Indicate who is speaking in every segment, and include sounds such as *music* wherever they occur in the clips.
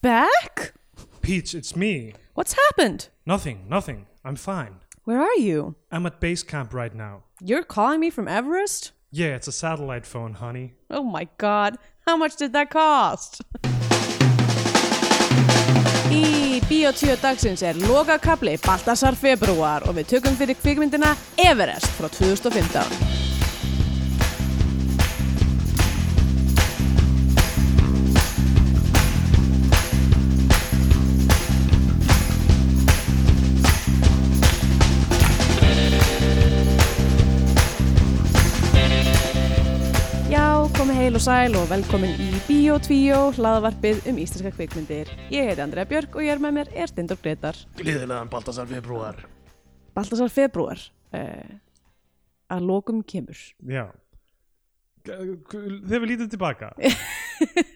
Speaker 1: back?
Speaker 2: Peach, it's me.
Speaker 1: What's happened?
Speaker 2: Nothing, nothing. I'm fine.
Speaker 1: Where are you?
Speaker 2: I'm at base camp right now.
Speaker 1: You're calling me from Everest?
Speaker 2: Yeah, it's a satellite phone, honey.
Speaker 1: Oh my god, how much did that cost? Í Bíotíu dagsins er lokakabli Baltasar februar og við tökum fyrir kvikmyndina Everest frá 2015. Já, komið heil og sæl og velkomin í Bíó 2, hlaðvarpið um íslenska kvikmyndir. Ég heiti Andrea Björk og ég er með mér er Steindor Gretar.
Speaker 3: Gleðilegan Baltasar februar
Speaker 1: Baltasar februar uh, að lokum kemur.
Speaker 2: Já. G- g- Þegar við lítum tilbaka.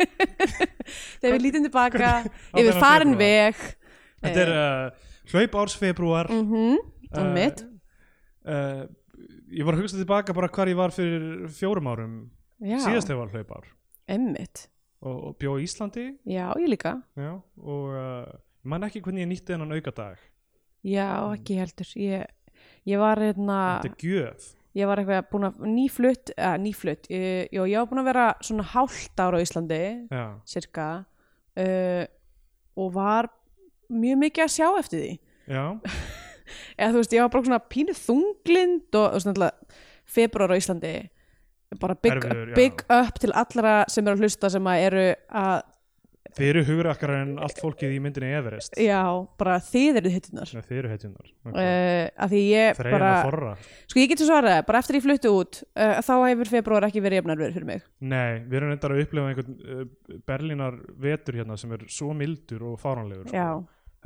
Speaker 1: *laughs* Þegar við lítum tilbaka
Speaker 2: á
Speaker 1: yfir
Speaker 2: þennan
Speaker 1: farin
Speaker 2: febrúar?
Speaker 1: veg
Speaker 2: Þetta er uh, hlaup árs februar.
Speaker 1: mm
Speaker 2: Eh,
Speaker 1: og mitt.
Speaker 2: Uh, ég var að hugsa tilbaka bara hvar ég var fyrir fjórum árum.
Speaker 1: Já,
Speaker 2: Síðast þegar var hlaup ár.
Speaker 1: emmitt.
Speaker 2: Og, og bjó í Íslandi.
Speaker 1: Já, ég líka.
Speaker 2: Já. Og uh, ég man ekki hvernig ég nýtti þennan aukadag.
Speaker 1: Já, ekki heldur. Ég, ég var hérna...
Speaker 2: Þetta er gjöf.
Speaker 1: ég var eitthvað búin að nýflutt, eða nýflutt, ég, jó, ég var búin að vera svona hálft ára á Íslandi,
Speaker 2: Já.
Speaker 1: cirka, uh, og var mjög mikið að sjá eftir því.
Speaker 2: Já.
Speaker 1: Eða þú veist, ég var bara svona pínu þunglind og, og svona alltaf februar á Íslandi, bara big,
Speaker 2: Erfiður, já.
Speaker 1: big up til allra sem eru að hlusta sem að eru að,
Speaker 2: Þið eru hugrakkar en allt fólkið í myndinni Everest.
Speaker 1: já, bara þið eru hittunar.
Speaker 2: Nei, Þið eru hetjunar. Okay.
Speaker 1: Uh, að því ég
Speaker 2: Þreiðan
Speaker 1: bara,
Speaker 2: að forra.
Speaker 1: sko ég getur svarað, bara eftir ég fluttu út, uh, þá hefur februar ekki verið jafnarverð fyrir mig.
Speaker 2: Nei, við erum reyndar að upplifa einhvern uh, Berlínar vetur hérna sem er svo mildur og fáranlegur. Sko.
Speaker 1: Já.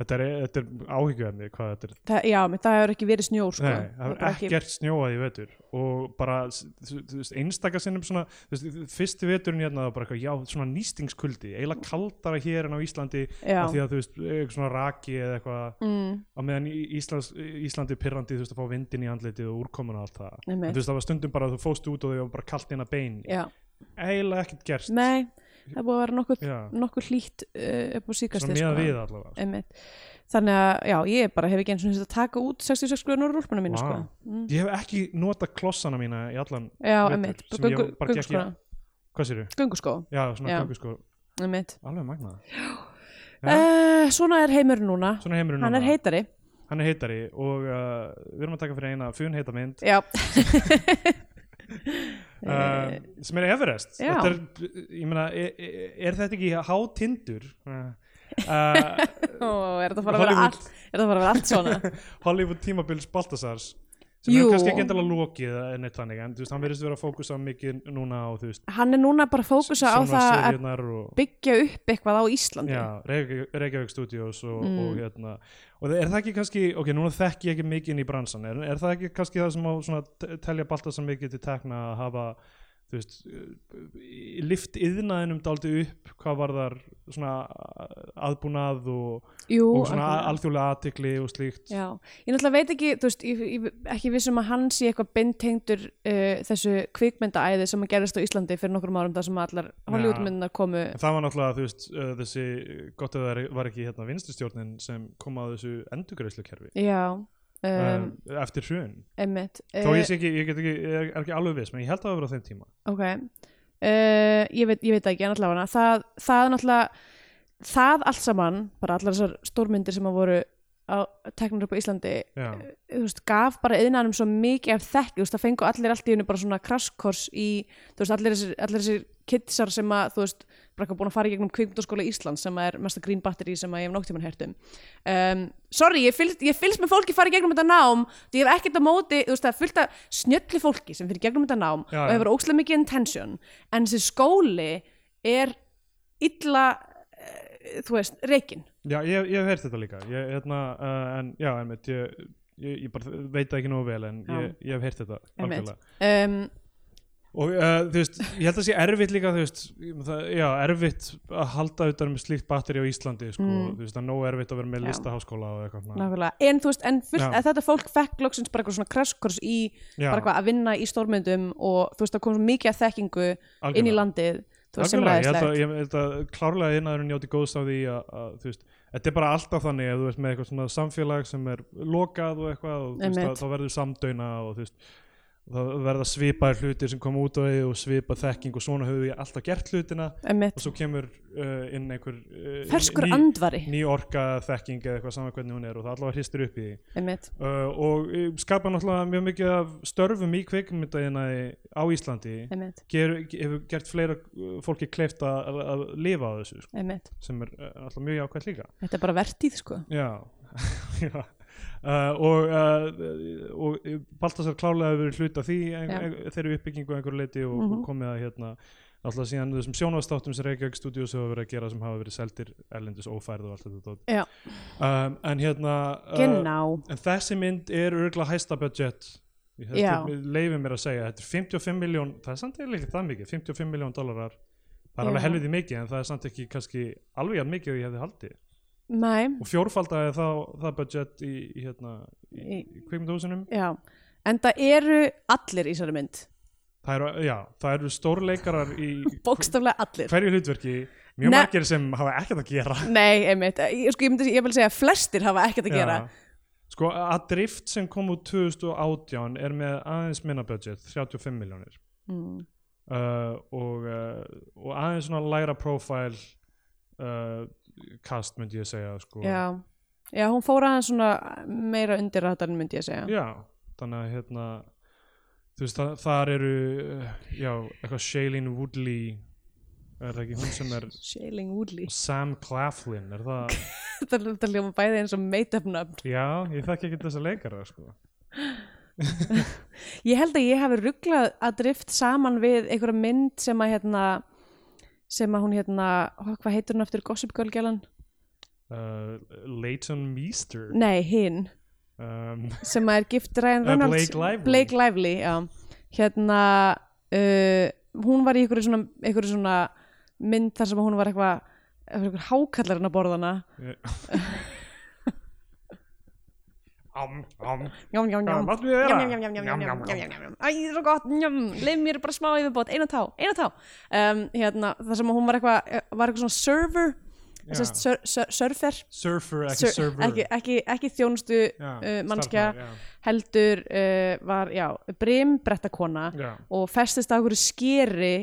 Speaker 2: Þetta er, þetta er áhyggjöfni hvað þetta er.
Speaker 1: Það, já, menn það hefur ekki verið snjór sko.
Speaker 2: Nei, það er
Speaker 1: bara
Speaker 2: ekkert snjóað í vetur og bara s- þú þú veist, einstaka sinnum svona, þú veist, fyrsti veturinn hérna var bara eitthvað, já, svona nýstingskuldi, eiginlega kaldara hér en á Íslandi
Speaker 1: Já.
Speaker 2: af því að þú veist, eitthvað svona raki eða eitthvað,
Speaker 1: mm,
Speaker 2: á meðan í Íslands, Íslandi er pirrandi, þú veist, að fá vindin í andlitið og úrkomuna og allt það. En,
Speaker 1: einmitt.
Speaker 2: þú veist, það var stundum bara að þú fóst út og þau var bara kalt inn að bein.
Speaker 1: Já,
Speaker 2: Eiginlega ekkert gerst.
Speaker 1: nei, það er búið að vera nokkuð,
Speaker 2: Já.
Speaker 1: nokkuð hlýtt uh, upp á síkast
Speaker 2: Svona meða við allavega.
Speaker 1: Þannig að, já, ég bara hef ekki eins og þess að taka út 66 grunnar úr rúlpuna mínu
Speaker 2: Vá.
Speaker 1: sko. mm.
Speaker 2: Ég hef ekki nota klossana mína í allan,
Speaker 1: Já,
Speaker 2: Vetur,
Speaker 1: emmitt,
Speaker 2: sem ég
Speaker 1: göngu,
Speaker 2: bara gekk í-
Speaker 1: gönguskóna
Speaker 2: hvað sér
Speaker 1: Gönguskó,
Speaker 2: Já, svona
Speaker 1: Já.
Speaker 2: gangu sko,
Speaker 1: emmitt
Speaker 2: alveg magnað. Já.
Speaker 1: uh, Svona er heimurinn núna.
Speaker 2: Svona heimur
Speaker 1: Hann er heitari
Speaker 2: Hann er heitari og uh, við erum að taka fyrir eina fun heita mynd
Speaker 1: Já,
Speaker 2: *laughs*
Speaker 1: Eh,
Speaker 2: uh, sem er Everest.
Speaker 1: Já.
Speaker 2: Þetta er, ég meina, er, er- er þetta ekki hátindur? Uh,
Speaker 1: *laughs*
Speaker 2: uh,
Speaker 1: Ó, er þetta að fara að vera
Speaker 2: Hollywood.
Speaker 1: allt, er þetta að fara að vera allt
Speaker 2: *laughs*
Speaker 1: svona
Speaker 2: Hollywood tímabils Baltasars sem
Speaker 1: Jú.
Speaker 2: er kannski ekki endala lokið eða neitt þannig en þú veist, hann verðist vera að fókusa mikið núna á þú veist,
Speaker 1: Hann er núna bara að fókusa á það að
Speaker 2: sjónvarpsseríurnar og
Speaker 1: byggja upp eitthvað á Íslandi
Speaker 2: Já, Reykjavík Reykjavík Studios og,
Speaker 1: Mm.
Speaker 2: og hérna og er það ekki kannski, ok, núna þekki ég ekki mikið inn í bransan, er, er það ekki kannski það sem á svona te- telja Baltasar mikið til tekna að hafa, þú veist eh, lift yðnaðinum daldi upp hvað var þar svona aðbúnað og,
Speaker 1: Jú,
Speaker 2: og svona
Speaker 1: algjörlega.
Speaker 2: alþjóðlega athygli og slíkt
Speaker 1: Já, ég náttúrulega veit ekki, þú veist, ég, ég ekki vissum að hann sé eitthvað beintengdur uh, þessu kvikmyndaæði sem að gerist á Íslandi fyrir nokkrum árum þar sem allar Hollywoodmyndunar komu.
Speaker 2: En það var náttúrulega, þú veist, uh, þessi gott ef það er- var ekki hérna vinstristjórnin sem kom að þessu endurgreislukerfi
Speaker 1: Já,
Speaker 2: um,
Speaker 1: um, eh,
Speaker 2: eftir hrun
Speaker 1: emmitt.
Speaker 2: þó ég sé ekki, ég get ekki, ég er ekki alveg viss menn ég held að það hafi verið á þeim tíma
Speaker 1: Ok, uh, ég, veit, ég veit það ekki, en allavega það, það er náttúrulega, það allt saman, bara allar þessar stórmyndir sem að voru á teknar upp á Íslandi,
Speaker 2: Já.
Speaker 1: þú veist, gaf bara yðnarum svo mikið af þekk, þú veist, það fengu allir allt í hennu bara svona kraskors í, þú veist, allir þessir, allir þessir kitsar sem að, þú veist, bara eitthvað búin að fara í gegnum kvikmyndaskóla Íslands sem að er mesta grín batteri sem að ég hef nótt tímann heyrt um. Um, sorry, ég fylgst, ég fylgst með fólki fara í gegnum þetta nám, því ég hef ekkert á móti, þú veist, það er fullt af snjöllu fólki sem fyrir gegnum þetta nám
Speaker 2: Já,
Speaker 1: og
Speaker 2: já.
Speaker 1: hefur ókslega mikið intention, en þessi skóli er illa, eh, þú veist, reikin.
Speaker 2: Já, ég, ég hef heyrt þetta líka ég, hérna, uh, en já, einmitt ég, ég, ég bara veit það ekki nógu vel en
Speaker 1: Já.
Speaker 2: ég, ég hef heyrt þetta
Speaker 1: Einmitt.
Speaker 2: algjörlega.
Speaker 1: Um,
Speaker 2: og uh, þú veist, ég held að sé erfitt líka þú veist, ég- það, já, erfitt að halda utan um slíkt batteri á Íslandi sko,
Speaker 1: Mm.
Speaker 2: þú veist, það er nógu erfitt að vera með
Speaker 1: Já.
Speaker 2: listaháskóla og eitthvað svona.
Speaker 1: Nákvæmlega, en þú veist, en fullt,
Speaker 2: Já.
Speaker 1: að þetta fólk fekk loksins bara eitthvað svona krasskors í
Speaker 2: já,
Speaker 1: bara eitthvað að vinna í stórmyndum og þú veist, það kom svo mikið að þekkingu inn í
Speaker 2: algjörlega.
Speaker 1: landið þú veist sem
Speaker 2: Algjörlega, ég held að-
Speaker 1: ræðislegt
Speaker 2: ég held að klárlega innæðurinn njóti góðs á því að, að þú veist, þetta er bara alltaf þannig að þú veist með eitthvað svona samfélag sem er lokað og eitthvað og þú veist,
Speaker 1: Einmitt.
Speaker 2: að, þá verður samdöina og þú veist þá verða svipaðir hlutir sem koma út á því og svipað þekking og svona höfum við alltaf gert hlutina og
Speaker 1: Einmitt.
Speaker 2: svo kemur uh, inn einhver uh,
Speaker 1: ferskur
Speaker 2: ný,
Speaker 1: andvari
Speaker 2: ný orka þekking eða eitthvað saman hvernig hún er og það allavega hristir upp í því
Speaker 1: einmitt,
Speaker 2: uh, og uh, skapa náttúrulega mjög mikið af störfum í kveikmyndaðina á Íslandi
Speaker 1: einmitt,
Speaker 2: ger, hefur gert fleira uh, fólki kleift að, að lifa á þessu sko,
Speaker 1: einmitt
Speaker 2: sem er uh, alltaf mjög jákvæmt líka
Speaker 1: þetta er bara vertíð sko
Speaker 2: já, *laughs* já. Uh, og, uh, og Baltasar klálega hefur verið hluti af því ein,
Speaker 1: Já. Mhm.
Speaker 2: ein, þeirri uppbyggingu að einhverju leiti og, og komið að hérna alltaf síðan þessum sjónvastáttum sem Reykjavík Studios hefur verið að gera sem hafa verið seldir erlendis ófærð og allt þetta dót.
Speaker 1: já,
Speaker 2: um, en hérna uh,
Speaker 1: genau,
Speaker 2: En þessi mynd er örgulega hæsta budget
Speaker 1: Já.
Speaker 2: leifið mér að segja, þetta er 55 miljón það er samt eiginlega ekki það mikið, 55 miljón dólarar það er alveg
Speaker 1: Já.
Speaker 2: helviti mikið en það er samt ekki kannski alveg jafn mikið og ég hefði haldið
Speaker 1: næ
Speaker 2: og fjórfaldaði þá það budget í, í hérna, í, í kvikmyndahúsinum
Speaker 1: já, en það eru allir í þessari mynd,
Speaker 2: það eru, já, það eru stórleikarar í
Speaker 1: *laughs* bókstaflega allir
Speaker 2: hverju hlutverki mjög
Speaker 1: Ne-
Speaker 2: margir sem hafa ekkert að gera
Speaker 1: nei, einmitt, ég, sko, ég, myndi, ég vil segja að flestir hafa ekkert að gera
Speaker 2: Já. Sko, að drift sem kom út 2018 er með aðeins minna budget, 35 miljónir
Speaker 1: Mm.
Speaker 2: uh, og, uh, og aðeins svona læra profile uh, cast myndi ég segja sko.
Speaker 1: já, já, hún fór aðeins svona meira undir rættarinn myndi ég segja
Speaker 2: Já, þannig að hérna þú veist, það, þar eru uh, já, eitthvað Shailene Woodley er það ekki hún sem er
Speaker 1: Shailing Woodley
Speaker 2: Sam Claflin, er
Speaker 1: *laughs*
Speaker 2: það
Speaker 1: þetta, þetta ljóma bæði eins og meitabnöfn
Speaker 2: já, ég þekki ekki þessa leikara sko.
Speaker 1: ég held að ég hafi rugglað að drift saman við einhverja mynd sem að hérna sem að hún hérna, ó, hvað heitur hún aftur Gossip Girl gælan?
Speaker 2: uh, Leighton Meester
Speaker 1: Nei, hinn
Speaker 2: um,
Speaker 1: sem að er gift Ryan
Speaker 2: Eh,
Speaker 1: Reynolds
Speaker 2: Blake Lively.
Speaker 1: Blake Lively, já hérna, uh, hún var í einhverju svona, einhverju svona mynd þar sem að hún var eitthvað einhverjum hákallarinn að borðana
Speaker 2: am, am,
Speaker 1: Njám, njám,
Speaker 2: Já,
Speaker 1: njám
Speaker 2: máttu við vera?
Speaker 1: Njám, njám, njám, njám, njám,
Speaker 2: Njám,
Speaker 1: njám,
Speaker 2: njám,
Speaker 1: njám, njám, njám. Æ, það er svo gott, njám Leif mér bara smá yfirbót, eina tá, eina tá um, Hérna, það sem að hún var eitthvað Var eitthvað svona server
Speaker 2: Já.
Speaker 1: Sest, sur, sur, Surfer
Speaker 2: surfer, ekki
Speaker 1: Sur-
Speaker 2: server
Speaker 1: ekki, ekki, ekki þjónustu
Speaker 2: Já,
Speaker 1: uh, mannskja
Speaker 2: starfsmaður, já.
Speaker 1: Heldur uh, var, já, brim brettakona
Speaker 2: Já.
Speaker 1: Og festist að einhverju skeri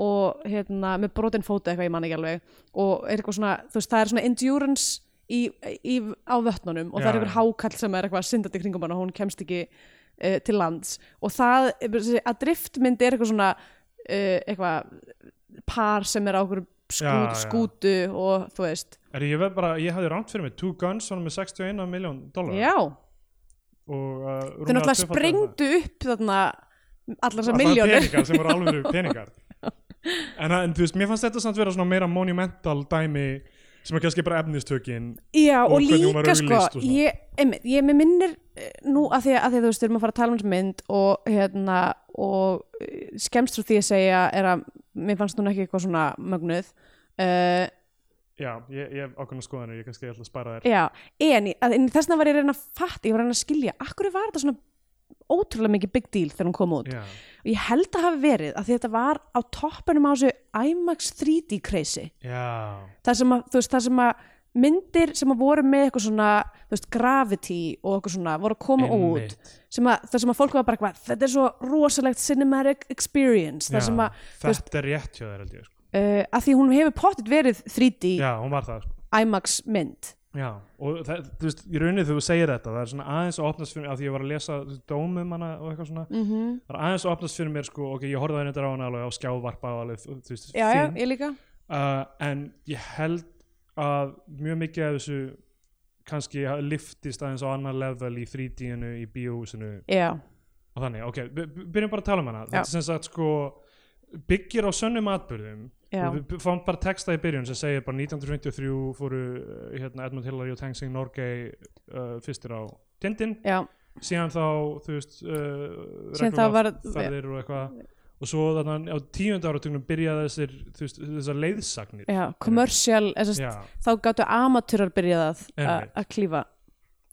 Speaker 1: Og hérna, með brotin fóta eitthvað, ég man ekki alveg Og er eitthvað svona, þú veist, það er svona endurance Í, í, á vötnunum og það er
Speaker 2: Já,
Speaker 1: einhver
Speaker 2: já.
Speaker 1: hákall sem er eitthvað syndandi kringum hann og hún kemst ekki uh, til lands og það, þessi að driftmynd er eitthvað svona uh, eitthvað par sem er á okkur
Speaker 2: Já,
Speaker 1: skút,
Speaker 2: já.
Speaker 1: skútu og þú veist,
Speaker 2: Er, ég, verð bara, ég hafði rámt fyrir mig, Two Guns var með 61 miljón dólar
Speaker 1: já
Speaker 2: og
Speaker 1: þau
Speaker 2: uh, rúmlega
Speaker 1: náttúrulega
Speaker 2: tvöfaldar
Speaker 1: sprengdu upp þarna allar
Speaker 2: það.
Speaker 1: þessar
Speaker 2: Allar
Speaker 1: miljónir
Speaker 2: peningar sem voru
Speaker 1: *laughs*
Speaker 2: alveg peningar en, að- en þú veist, mér fannst þetta samt vera svona meira monumental dæmi sem er kannski bara efnistökin
Speaker 1: já og,
Speaker 2: Og hvernig hún var
Speaker 1: líka sko
Speaker 2: auglýst og svona.
Speaker 1: ég, einmitt, ég með minnir eh, nú að því að, að því að þú veist, við erum að fara að tala um þessu mynd og hérna og eh, skemmst frá því að segja er að mér fannst hún ekki eitthvað svona mögnuð uh,
Speaker 2: já, ég, ég hef ákveðna skoðanir, ég kannski ætla að spara þær
Speaker 1: Já, en, í- að- en þessna var ég að reyna að fatta, ég var að reyna að skilja Akkur var þetta svona ótrúlega mikið big deal þegar hún kom út
Speaker 2: já,
Speaker 1: Og ég held að hafi verið að þetta var á toppunum á þessu IMAX 3D crazy
Speaker 2: já,
Speaker 1: Það sem að, þú veist, það sem að myndir sem að voru með eitthvað svona þú veist, gravity og eitthvað svona voru að koma
Speaker 2: Einmitt.
Speaker 1: út sem að, það sem að fólk var bara hvað, þetta er svo rosalegt cinematic experience það
Speaker 2: já.
Speaker 1: sem að, þú veist,
Speaker 2: þetta er rétt hjá þér held ég sko.
Speaker 1: uh, að því hún hefur pottit verið 3D
Speaker 2: já, hún var það sko.
Speaker 1: IMAX mynd
Speaker 2: Já, og það, þú veist, í rauninni þegar þú segir þetta það er svona aðeins að opnast fyrir mér, af því ég var að lesa þú veist, dómum hana og eitthvað svona -hmm.
Speaker 1: Mhm.
Speaker 2: það er aðeins að opnast fyrir mér, sko, ok, ég horfði að þetta á hana alveg á skjávarpa og alveg, þú veist,
Speaker 1: Já, já,
Speaker 2: fín.
Speaker 1: ég líka
Speaker 2: uh, en ég held að mjög mikið af þessu kannski hafi liftist aðeins á annar level í 3D-inu, í bíóhúsinu
Speaker 1: Já,
Speaker 2: og þannig, ok, by- by- byrjum bara að tala um hana
Speaker 1: Já.
Speaker 2: þetta sem sagt, sko byggir á sönnum atbyrðum
Speaker 1: Já.
Speaker 2: Og við fáum bara texta í byrjun sem segir bara 1953 fóru uh, hérna, Edmund Hillary og Tenzing Norgay uh, fyrstir á tindin
Speaker 1: já,
Speaker 2: síðan þá þú veist uh,
Speaker 1: Síðan þá var-
Speaker 2: þarðir og eitthvað og svo þannig á tíundu áratugnum byrjaði þessir þú veist, þessar leiðsagnir
Speaker 1: já, commercial þess,
Speaker 2: Já.
Speaker 1: þá gáttu amatúrar byrjað að
Speaker 2: Einmitt.
Speaker 1: að klífa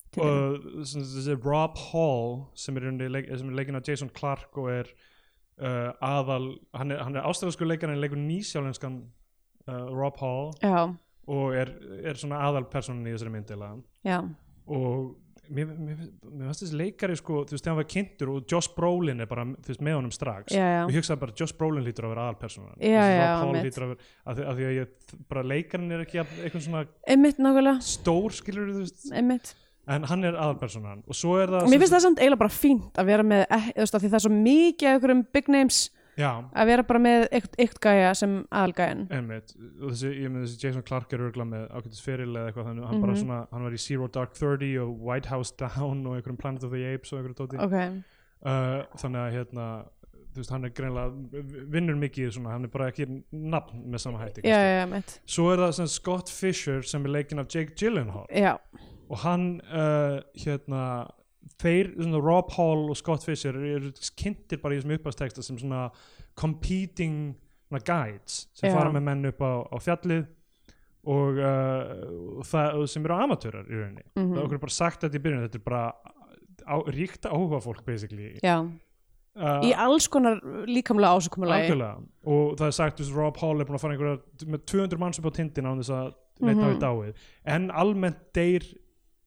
Speaker 1: til þeim.
Speaker 2: uh, og þessi Rob Hall sem er, í rauninni leik, sem er leikinn af Jason Clark og er uh, aðal, hann er, hann er ástralsku leikar en leikur nýsjálenskan uh, Rob Hall
Speaker 1: já,
Speaker 2: og er, er svona aðalpersonin í þessari myndila
Speaker 1: já,
Speaker 2: og mér, mér, mér fannst þessi leikari sko, þú veist, þegar hann var kynntur og Josh Brolin er bara, þú veist, með honum strax
Speaker 1: já, já.
Speaker 2: og ég hugsaði bara, Josh Brolin lítur að vera aðalpersonan
Speaker 1: Já, já,
Speaker 2: Rob Hall
Speaker 1: einmitt.
Speaker 2: lítur að vera, af því- af því að ég bara leikarinn er ekki jafn- eitthvað svona
Speaker 1: einmitt nákvæmlega,
Speaker 2: stór skilur þú veist
Speaker 1: einmitt
Speaker 2: en hann er aðalpersonan og svo er það
Speaker 1: Mér finnst það samt eiginlega bara fínt að vera með, eh, þú veist, af því það er svo mikið af einhverjum big names
Speaker 2: já,
Speaker 1: að vera bara með eitt, eitt gæja sem aðalgæjan.
Speaker 2: einmitt og þessi, ég með þessi Jason Clark er örgla með ákveðtis fyrir eða eitthvað þannig, hann bara
Speaker 1: Mhm.
Speaker 2: svona, hann var í Zero Dark Thirty og White House Down og einhverjum Planet of the Apes og einhverjum dóti
Speaker 1: Ok,
Speaker 2: uh, þannig að hérna þú veist, hann er greinlega, vinnur mikið í svona, hann er bara ekki nafn með sama hætti
Speaker 1: já,
Speaker 2: kannski.
Speaker 1: já, mitt.
Speaker 2: svo er það sem Scott Fisher sem er leikinn af Jake Gyllenhaal
Speaker 1: Já,
Speaker 2: og hann uh, hérna þeir, svona, Rob Hall og Scott Fisher eru kynntir bara í þessum uppasteksta sem svona competing svona guides sem
Speaker 1: Já.
Speaker 2: fara með menn upp á, á fjallið og, uh, og það og sem eru amatúrar í rauninni
Speaker 1: Mhm.
Speaker 2: það okkur er bara sagt þetta í byrjun þetta er bara á, ríkt áhuga fólk basically
Speaker 1: já.
Speaker 2: uh,
Speaker 1: Í alls konar líkamlega ásökumulagi.
Speaker 2: algjörlega og það er sagt þú veist, Rob Hall er búin að fara einhverja með 200 manns upp á tindin án þess að neitt hafi
Speaker 1: Mhm.
Speaker 2: dáið en almennt deyr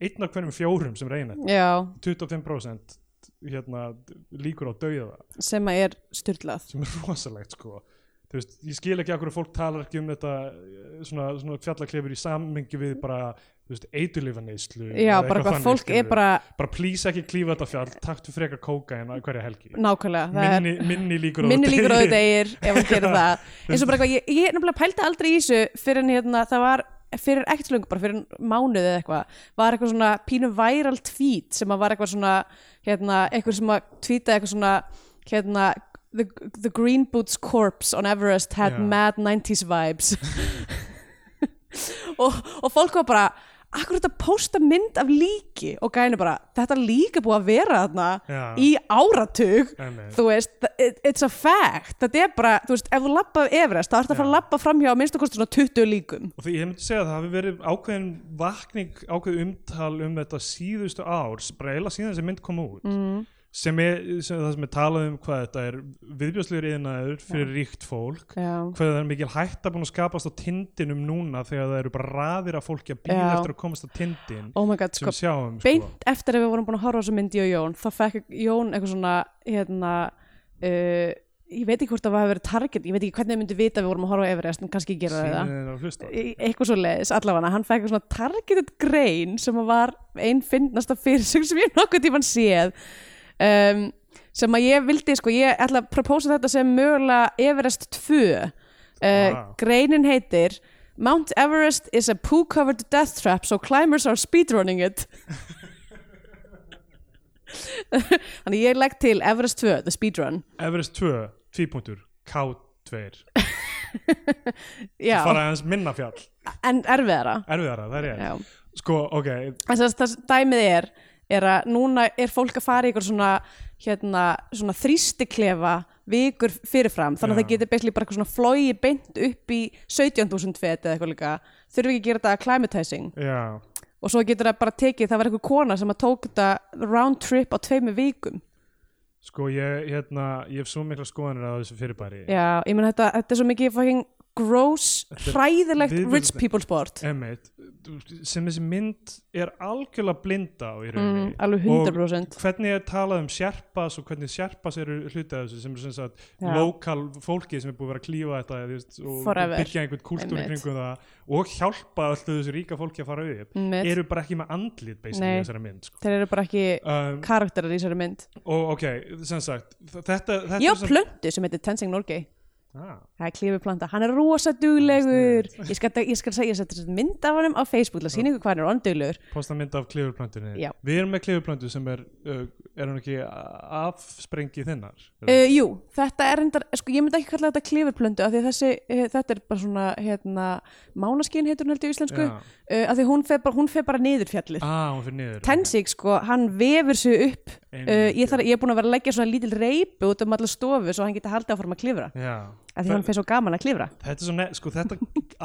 Speaker 2: einn af hverjum fjórum sem reyna þetta
Speaker 1: Já,
Speaker 2: 25% hérna, líkur á dauða
Speaker 1: sem að er styrlað.
Speaker 2: sem er *laughs* rosalegt sko Þú veist, ég skil ekki akkur að fólk talar ekki um þetta eh, svona, svona fjallaklefur í sammengi við bara þú veist, eiturlifa neyslu
Speaker 1: Já, bara hvað fólk er bara
Speaker 2: bara please ekki klífa þetta fjall taktu frekar kóka en hverja helgi
Speaker 1: nákvæmlega. það er-
Speaker 2: minni, minni líkur á
Speaker 1: minni líkur á
Speaker 2: dauða.
Speaker 1: þetta eigir ef hann gerir *laughs* það eins og bara eitthvað, ég, ég nefnilega pældi aldrei í þessu fyrir en hérna, það var fyrir ekkert löngu, bara fyrir mánuði eða eitthvað var eitthvað svona pínu viral tweet sem að var eitthvað svona hérna, eitthvað sem að tweeta eitthvað svona hérna, the, the green boots corpse on Everest had
Speaker 2: Já.
Speaker 1: mad 90s vibes *laughs* og, og fólk var bara akkur þetta posta mynd af líki og gæni bara, þetta líka búið að vera þarna
Speaker 2: Já.
Speaker 1: í áratug
Speaker 2: Einmitt.
Speaker 1: þú veist, þa- it- it's a fact þetta er bara, þú veist, ef þú lappa Everest þá ertu að fara að lappa framhjá að minnstu kosti svona 20 líkum
Speaker 2: og því ég myndi segja að það hafi verið ákveðin vakning, ákveðin umtal um þetta síðustu árs, bara eila síðan þessi mynd kom út mm. sem, er, sem það sem er talað um hvað þetta er viðbjörslegur yðnaður fyrir ríkt fólk
Speaker 1: já,
Speaker 2: hvað það er mikil hætta búin að skapast á tindinum núna þegar það eru bara raðir af fólki að býða
Speaker 1: Já.
Speaker 2: eftir að komast á tindin
Speaker 1: oh my god,
Speaker 2: sem
Speaker 1: sko,
Speaker 2: sjáum sko.
Speaker 1: beint eftir að við vorum búin að horfa á þessu myndi og Jón, þá fekk Jón eitthvað svona, hérna uh, ég veit ekki hvort það var að vera target ég veit ekki hvernig þau myndi vita að við vorum að horfa á Everest en kannski gera þau það
Speaker 2: Sýnin er að hlusta.
Speaker 1: Í- eitthvað svo leiðis allavega hann fæk svona targeted grein sem að var einn fyndnasta fyrirsögn sem ég nokkuð tímann séð um, sem að ég vildi sko, ég ætla að propósa þetta sem mögulega Everest 2 uh,
Speaker 2: Vá.
Speaker 1: greinin heitir Mount Everest is a poo-covered death trap so climbers are speedrunning it *laughs* þannig ég legg til Everest 2, the speedrun
Speaker 2: Everest 2, 2 punktur K2,
Speaker 1: já,
Speaker 2: fara aðeins minna fjall
Speaker 1: en erfiðara
Speaker 2: erfiðara, það er ég
Speaker 1: já
Speaker 2: sko, ok,
Speaker 1: En þess að dæmið er, er að núna er fólk að fara í ykkur svona, hérna, svona þrýstiklefa vikur fyrirfram þannig að
Speaker 2: Já.
Speaker 1: það getur basically bara eitthvað svona flogi beint upp í 17.000 fet eða eitthvað líka þurfi ekki að gera þetta acclimatizing
Speaker 2: já
Speaker 1: og svo getur það bara tekið, það var eitthvað kona sem að tók þetta round trip á tveimu vikum
Speaker 2: Sko ég, hérna, ég hef svo mikla skoðanir á þessu fyrirbæri
Speaker 1: Já, ég meina þetta, þetta er svo mikið fucking gross,
Speaker 2: er
Speaker 1: hræðilegt
Speaker 2: viðbjóðslegt.
Speaker 1: rich people sport
Speaker 2: Emmett, sem þessi mynd er algjörlega blinda á í
Speaker 1: mm,
Speaker 2: rauninni
Speaker 1: alveg 100%
Speaker 2: og hvernig er talað um sérpas og hvernig sérpas eru hluti af þessu sem er sem sagt
Speaker 1: Já.
Speaker 2: lokal fólki sem er búið að vera að klífa þetta þú veist, og
Speaker 1: Forever.
Speaker 2: byggja einhvern kúltúr
Speaker 1: Einmitt.
Speaker 2: kringum það og hjálpa öllu þessu ríka fólki að fara upp
Speaker 1: Einmitt.
Speaker 2: eru bara ekki með andlit basically
Speaker 1: Nei.
Speaker 2: í þessari mynd sko.
Speaker 1: þeir eru bara ekki
Speaker 2: um,
Speaker 1: karakterar í þessari mynd
Speaker 2: og ok, sem sagt þetta, þetta
Speaker 1: Ég á
Speaker 2: er sem,
Speaker 1: plöntu sem heitir Tensing Norgay
Speaker 2: ah,
Speaker 1: Það er klífiplanta, hann er rosa duglegur Ég skal, ég skal segja, ég setja þetta mynd af honum á Facebook til að sína ykkur hvað hann er onduglegur
Speaker 2: posta mynd af klifurplöntunni
Speaker 1: Já.
Speaker 2: við erum með klifurplöntu sem er uh, er hún ekki a- afsprengi þinnar
Speaker 1: uh, Jú, þetta er endar, sko ég myndi ekki kalla þetta klífiplöntu af því að þessi, eh, þetta er bara svona hérna, mánaskín heitur hún held ég á íslensku uh,
Speaker 2: Já.
Speaker 1: af því hún fer bara, hún fer bara niður fjallið
Speaker 2: ah, hún fyrir niður
Speaker 1: Tensing sko, hann vefur sig upp uh,
Speaker 2: Einmitt,
Speaker 1: ég, þarf, ég er búin að vera að leggja svona lítil reypu út um alla stofu svo hann geti haldið áfram að klifra
Speaker 2: já
Speaker 1: af því hann finnst svo gaman að klifra
Speaker 2: Þetta er svo ne, sko þetta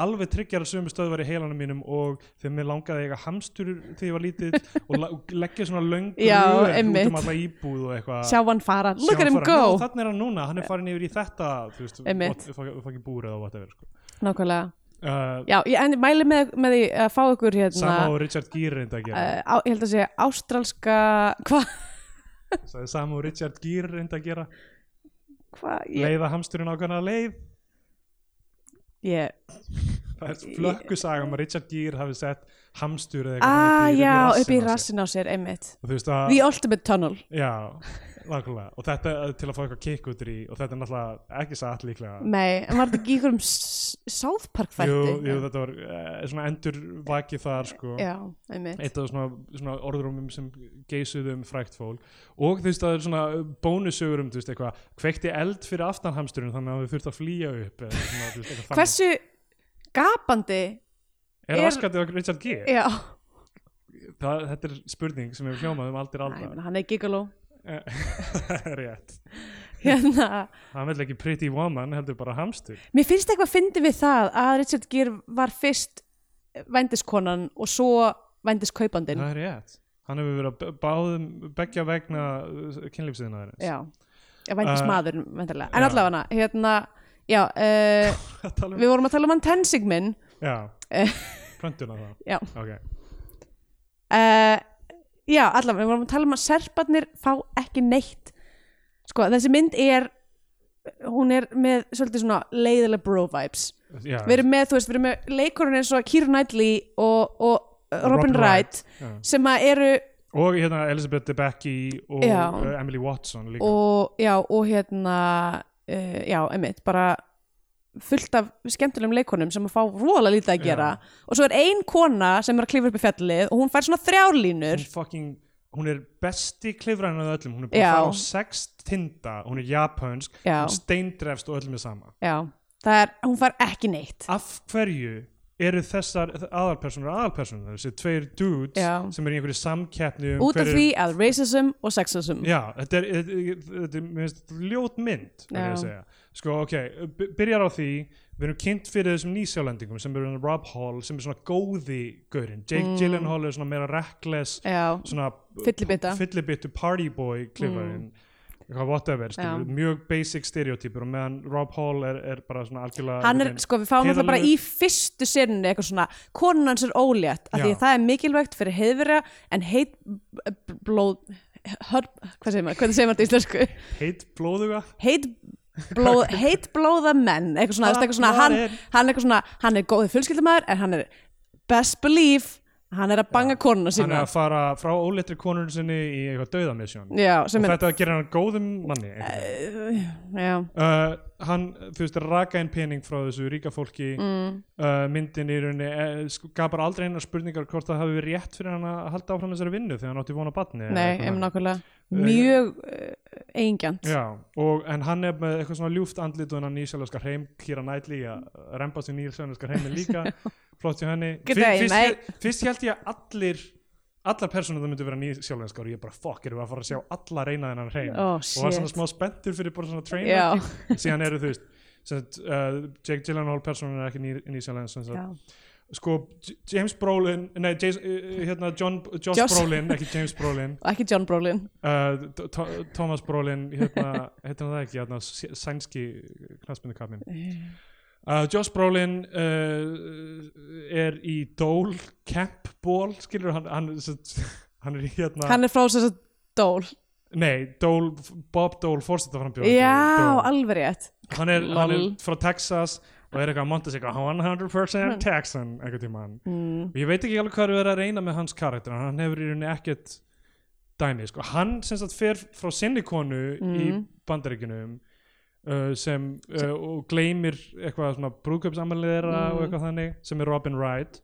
Speaker 2: alveg tryggjar sömu stöðvar í heilanum mínum og þegar mér langaði að eiga hamstur þegar ég var lítill og, la- og leggja svona löngu
Speaker 1: Já,
Speaker 2: út
Speaker 1: einmitt.
Speaker 2: um alla íbúð og eitthvað
Speaker 1: sjá hann fara,
Speaker 2: Sjá
Speaker 1: look at
Speaker 2: hann
Speaker 1: him
Speaker 2: fara.
Speaker 1: go
Speaker 2: Já, Þannig er hann núna, hann er farin yfir í þetta þú veist,
Speaker 1: Einmitt.
Speaker 2: fokkin búrið og whatever sko.
Speaker 1: nákvæmlega,
Speaker 2: uh,
Speaker 1: já, ég en, mæli með, með því að fá ykkur hérna
Speaker 2: Sama og Richard Gere reynda að gera
Speaker 1: eh, á, ég held að segja ástralska hvað,
Speaker 2: uh, Sama og Richard Gere reynda að gera
Speaker 1: hvað ég,
Speaker 2: leiða hamsturinn ákvæmna leið
Speaker 1: ég
Speaker 2: það er flökkusaga um að Richard Gere hafi sett hamstur eða
Speaker 1: ah,
Speaker 2: eitthvað
Speaker 1: já,
Speaker 2: út
Speaker 1: upp í
Speaker 2: rassinn á
Speaker 1: rassin á
Speaker 2: sér. Ah.
Speaker 1: sér, einmitt
Speaker 2: Og þú veist að
Speaker 1: the ultimate tunnel
Speaker 2: Já, nákvæmlega og þetta er til að fá eitthvað kikk út í og þetta er náttúrulega ekki satt líklega
Speaker 1: Nei, en var þetta ekki í einhverjum s- South Park þætti?
Speaker 2: Ah. jú, jú, þetta var uh, svona endur vakið þar sko
Speaker 1: Já, einmitt
Speaker 2: eitt af svona, svona orðrumum sem geysuðu um frækt fólk og þú veist það er svona bónusögur um þú veist eitthvað kveikti eld fyrir aftanhamsturinn þannig að við þurft að flýja upp eða, svona, þú veist, eitthvað þannig.
Speaker 1: Hversu gapandi
Speaker 2: er
Speaker 1: er-
Speaker 2: raskatið okkur Richard G?
Speaker 1: Já,
Speaker 2: Það, þetta er spurning sem hefur hljómað um
Speaker 1: Æ,
Speaker 2: aldir
Speaker 1: ég
Speaker 2: aldar Eh,
Speaker 1: meina, hann er gigolo
Speaker 2: *laughs* rétt
Speaker 1: Hérna,
Speaker 2: hann vil ekki pretty woman heldur bara hamstur
Speaker 1: mér finnst eitthvað fyndi við það að Richard Gere var fyrst vendiskonan og svo vendiskaupandinn
Speaker 2: Það er rétt Hann hefur verið að b- báðum beggja vegna eh, kynlífsiðina þeirins *laughs*
Speaker 1: Já, já vendismadurinn uh, En
Speaker 2: já.
Speaker 1: allavega hérna Já, uh,
Speaker 2: um,
Speaker 1: við vorum að tala um hann Tensing minn
Speaker 2: Já,
Speaker 1: *laughs* Eh.
Speaker 2: plöntuna það
Speaker 1: Já
Speaker 2: Ok,
Speaker 1: uh, já, allavega, við vorum að tala um að serparnir fá ekki neitt sko, þessi mynd er hún er með svolítið svona leiðilega bro vibes
Speaker 2: já
Speaker 1: við erum með, þú veist, við erum með leikurinn eins og Keira Knightley og, og uh, Robin
Speaker 2: Robin
Speaker 1: Wright
Speaker 2: já.
Speaker 1: sem að eru
Speaker 2: Og hérna Elizabeth Debicki og
Speaker 1: Já.
Speaker 2: uh, Emily Watson líka
Speaker 1: og, já, og hérna uh, já, einmitt, bara fullt af skemmtilegum leikonum sem að fá rola lítið að gera og svo er ein kona sem er að klífa upp í fjallið og hún fær svona þrjárlínur
Speaker 2: Hún fucking Hún er besti klifræðin af öllum Hún er búin
Speaker 1: Já.
Speaker 2: að fara á sex tinda Hún er japansk,
Speaker 1: Já.
Speaker 2: hún steindrefst og öllum er sama
Speaker 1: já, það er, hún fær ekki neitt
Speaker 2: Af hverju eru þessar aðalpersonur aðalpersonur þessi tveir dudes
Speaker 1: Já.
Speaker 2: sem eru í einhverju samkeppni um
Speaker 1: út af
Speaker 2: hver er-
Speaker 1: því að racism og sexism
Speaker 2: Já, þetta er, þetta er- þetta er mér finnst ljót mynd verð ég að
Speaker 1: Já.
Speaker 2: segja. sko, ok, by- byrjar á því við erum kynnt fyrir þessum nýsjálendingum sem eru Rob Hall, sem er svona góði gaurinn, Jake Gyllenhaal er svona meira reckless,
Speaker 1: Mm. já,
Speaker 2: svona
Speaker 1: Fyllibita. Mm.
Speaker 2: fyllibittu party boy klifarinn eitthvað whatever, skilur, mjög basic stereotypur og meðan Rob Hall er, er bara svona algjörlega
Speaker 1: hann er,
Speaker 2: einhvern veginn
Speaker 1: sko, við fáum þetta bara í
Speaker 2: heiðarlegur.
Speaker 1: fyrstu sinni eitthvað svona, konan hans er ólétt af því
Speaker 2: Já.
Speaker 1: að það er mikilvægt fyrir heiðverja en heit blóð hör, hvað segir maður, hvernig segir maður þetta í íslensku
Speaker 2: heit blóðuga
Speaker 1: heit blóð, heit blóða menn eitthvað svona,
Speaker 2: Hvar
Speaker 1: eitthvað svona hann,
Speaker 2: er-
Speaker 1: hann eitthvað svona, hann er góðið fjölskyldumæður en hann er best believe hann er að banga konuna
Speaker 2: hann er
Speaker 1: sína
Speaker 2: að fara frá óleitri konur sinni í eitthvað dauðamisjón
Speaker 1: já,
Speaker 2: og
Speaker 1: sem er,
Speaker 2: þetta gerir hann góðum manni einhvern veginn.
Speaker 1: já,
Speaker 2: uh, hann, þú veist, raka inn pening frá þessu ríka fólki mm. uh, myndin í rauninni eh, sk- gaf bara aldrei einar spurningar hvort það hafi verið rétt fyrir hann að halda áfram þessari vinnu þegar hann átti vona batni eða
Speaker 1: nei,
Speaker 2: eitthvað
Speaker 1: ef
Speaker 2: þannig.
Speaker 1: nákvæmlega mjög uh, eigingjant
Speaker 2: Já, og, en hann er með eitthvað svona ljúft andlit og hennar nýsjálfskar heim Kira Knightley að rempa sér
Speaker 1: *laughs*
Speaker 2: nýsjálfskar heimi líka flott hjá henni
Speaker 1: Good
Speaker 2: Fyrst-
Speaker 1: day,
Speaker 2: fyrst,
Speaker 1: mate.
Speaker 2: ég- fyrst held ég að allir allar personur það myndu vera nýsjálfskar og ég bara fokk erum við að fara að sjá alla reyna þennan heim
Speaker 1: Oh,
Speaker 2: og var svona
Speaker 1: shit.
Speaker 2: smá spenntur fyrir bara svona train
Speaker 1: Já.
Speaker 2: wrecking. *laughs* síðan eru þú veist sem, sagt, uh, Jake Gyllenhaal personur er ekki ný, nýsjálfskar
Speaker 1: já.
Speaker 2: sko J- James Brolin nei, James, uh, hérna John, Josh,
Speaker 1: Josh.
Speaker 2: Brolin ekki James Brolin
Speaker 1: og ekki John Brolin
Speaker 2: Uh, T- T- Thomas Brolin hérna, *laughs* hérna það ekki, hérna s- sænski knastmyndukapin uh, Josh Brolin uh, er í Dole Camp Ball, skilur hann hann, sem sagt- *laughs* hann er í hérna
Speaker 1: hann er frá þess að dól
Speaker 2: nei, Dole, Bob Dole fórsetaframbjóð
Speaker 1: já, alveg rétt
Speaker 2: hann, er- hann er
Speaker 1: Lol.
Speaker 2: frá Texas og er eitthvað að monta sig eitthvað 100% Texan einhvern tímann
Speaker 1: mm.
Speaker 2: og ég veit ekki alveg hvað er verið að reyna með hans karakter en hann hefur í rauninni ekkert dæmi sko. hann sem sagt fer frá sinni konu í bandaríkinum uh, sem uh, og gleymir eitthvað svona brúðkaupsamælið þeirra og eitthvað þannig sem er Robin Wright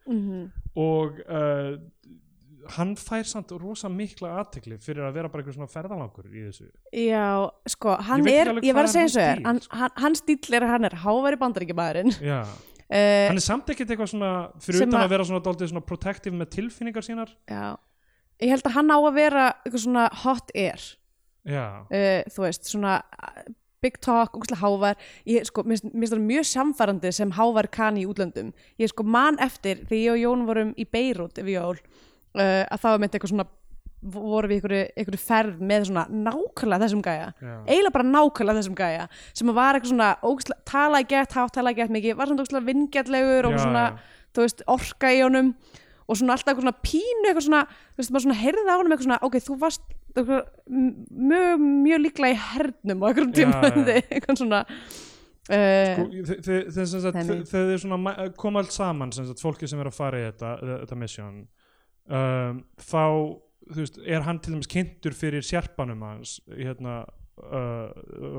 Speaker 2: og uh, hann fær samt rosa mikla aðtekli fyrir að vera bara eitthvað svona ferðalangur í þessu
Speaker 1: já, sko, hann
Speaker 2: veit ekki
Speaker 1: er
Speaker 2: alveg
Speaker 1: ég
Speaker 2: hvað
Speaker 1: verð að segja
Speaker 2: er
Speaker 1: eins og er
Speaker 2: hans stíll,
Speaker 1: hann, hann, hann stíll er að hann er háværi bandaríkjamaðurinn
Speaker 2: Já.
Speaker 1: uh,
Speaker 2: hann er samt ekkert eitthvað svona fyrir
Speaker 1: Sem
Speaker 2: utan
Speaker 1: að-
Speaker 2: að vera svona, dálítið svona protective með tilfinningar sínar
Speaker 1: já ég held að hann á að vera eitthvað svona hot air
Speaker 2: já,
Speaker 1: uh, þú veist, Eh, svona big talk, ógustlega hávær ég sko, minnst minnst það mjög samfærandi sem hávær kann í útlöndum ég sko man eftir þegar ég og Jón vorum í Beirut yfir jól uh, að það var meint eitthvað svona vorum við einhverju, einhverju ferð með svona nákvæmlega þessum gæja
Speaker 2: Já.
Speaker 1: eiginlega bara nákvæmlega þessum gæja sem var eitthvað svona, ógustlega, talaði gett hátt, talaði gett mikið, var svona ógustlega vingjallegur og
Speaker 2: Já,
Speaker 1: svona,
Speaker 2: já.
Speaker 1: þú veist, orka í honum og svona alltaf eitthvað svona pínu eitthvað svona, þú veist, maður svona heyrði á honum eitthvað svona, ok, þú varst eitthvað, m- mjög, mjög líklega í hernum á einhverjum
Speaker 2: Já,
Speaker 1: tímaði,
Speaker 2: já.
Speaker 1: eitthvað svona uh,
Speaker 2: Sko, þi- þi- þi- sem sagt,
Speaker 1: Þannig.
Speaker 2: þi- þegar þið svona ma- eh, koma allt saman sem sagt, fólki sem er að fara í þetta, eh, þetta mission um, þá þú veist, er hann til dæmis kynntur fyrir sérpanum hans hérna, uh,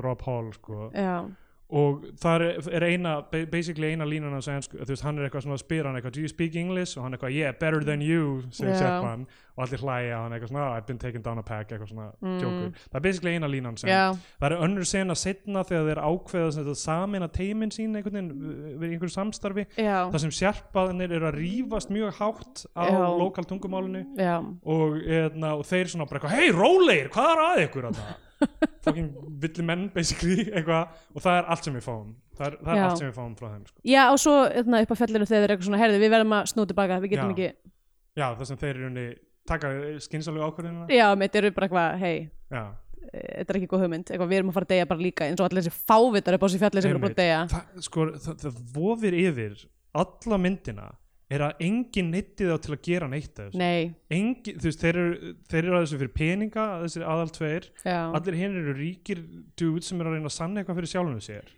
Speaker 2: Rob Hall sko.
Speaker 1: já,
Speaker 2: og það er eina ba- basically eina línan hans á ensku, þú veist, hann er eitthvað svona að spyr hann eitthvað, do you speak English? og hann eitthvað, yeah, better than you sem
Speaker 1: Já.
Speaker 2: yeah. sérpan og allir hlæja hann eitthvað svona, "Ah, I've been taken down a peg eitthvað svona, mm. það er basically eina línan sem
Speaker 1: já,
Speaker 2: það er önnur sena setna þegar þeir ákveða sem þetta samin að teimin sín einhvern veginn uh, við einhverju samstarfi
Speaker 1: eh, já, *laughs*
Speaker 2: þar Sko, sem sjarpaðanir eru að rífast mjög hátt á
Speaker 1: Já.
Speaker 2: lokal tungumálinu
Speaker 1: já,
Speaker 2: og, eðna, og þeir svona bara eitthvað hei rólegir, hvað er að ykkur að
Speaker 1: *laughs*
Speaker 2: fucking villi menn basically eitthvað, og það er allt sem við fáum það er, það
Speaker 1: Já.
Speaker 2: er allt sem við fáum frá þeim sko.
Speaker 1: já, og svo hérna, upp á fjallinu þegar þeir eru eitthvað svona, heyrðu, við verðum að snúti baka, við getum
Speaker 2: Já.
Speaker 1: ekki
Speaker 2: já, það sem þeir eru unni taka skynsalega ákvörðina
Speaker 1: Já, mitt eru bara eitthvað, hei,
Speaker 2: já.
Speaker 1: þetta er ekki góð hugmynd eitthvað, við erum að fara að deyja bara líka eins og allir þessi fávitar upp á þessi fjallir sem eru búin að deyja
Speaker 2: Einmitt. það, sko, það, það vofir yfir alla myndina er að enginn neytti þá til að gera neitt af þessu.
Speaker 1: Nei,
Speaker 2: Engi, þú veist, þeir eru, þeir eru að þessu fyrir peninga þessir aðal tveir
Speaker 1: já
Speaker 2: allir hinn eru ríkir dude sem eru að reyna að sanna eitthvað fyrir sjálfum sér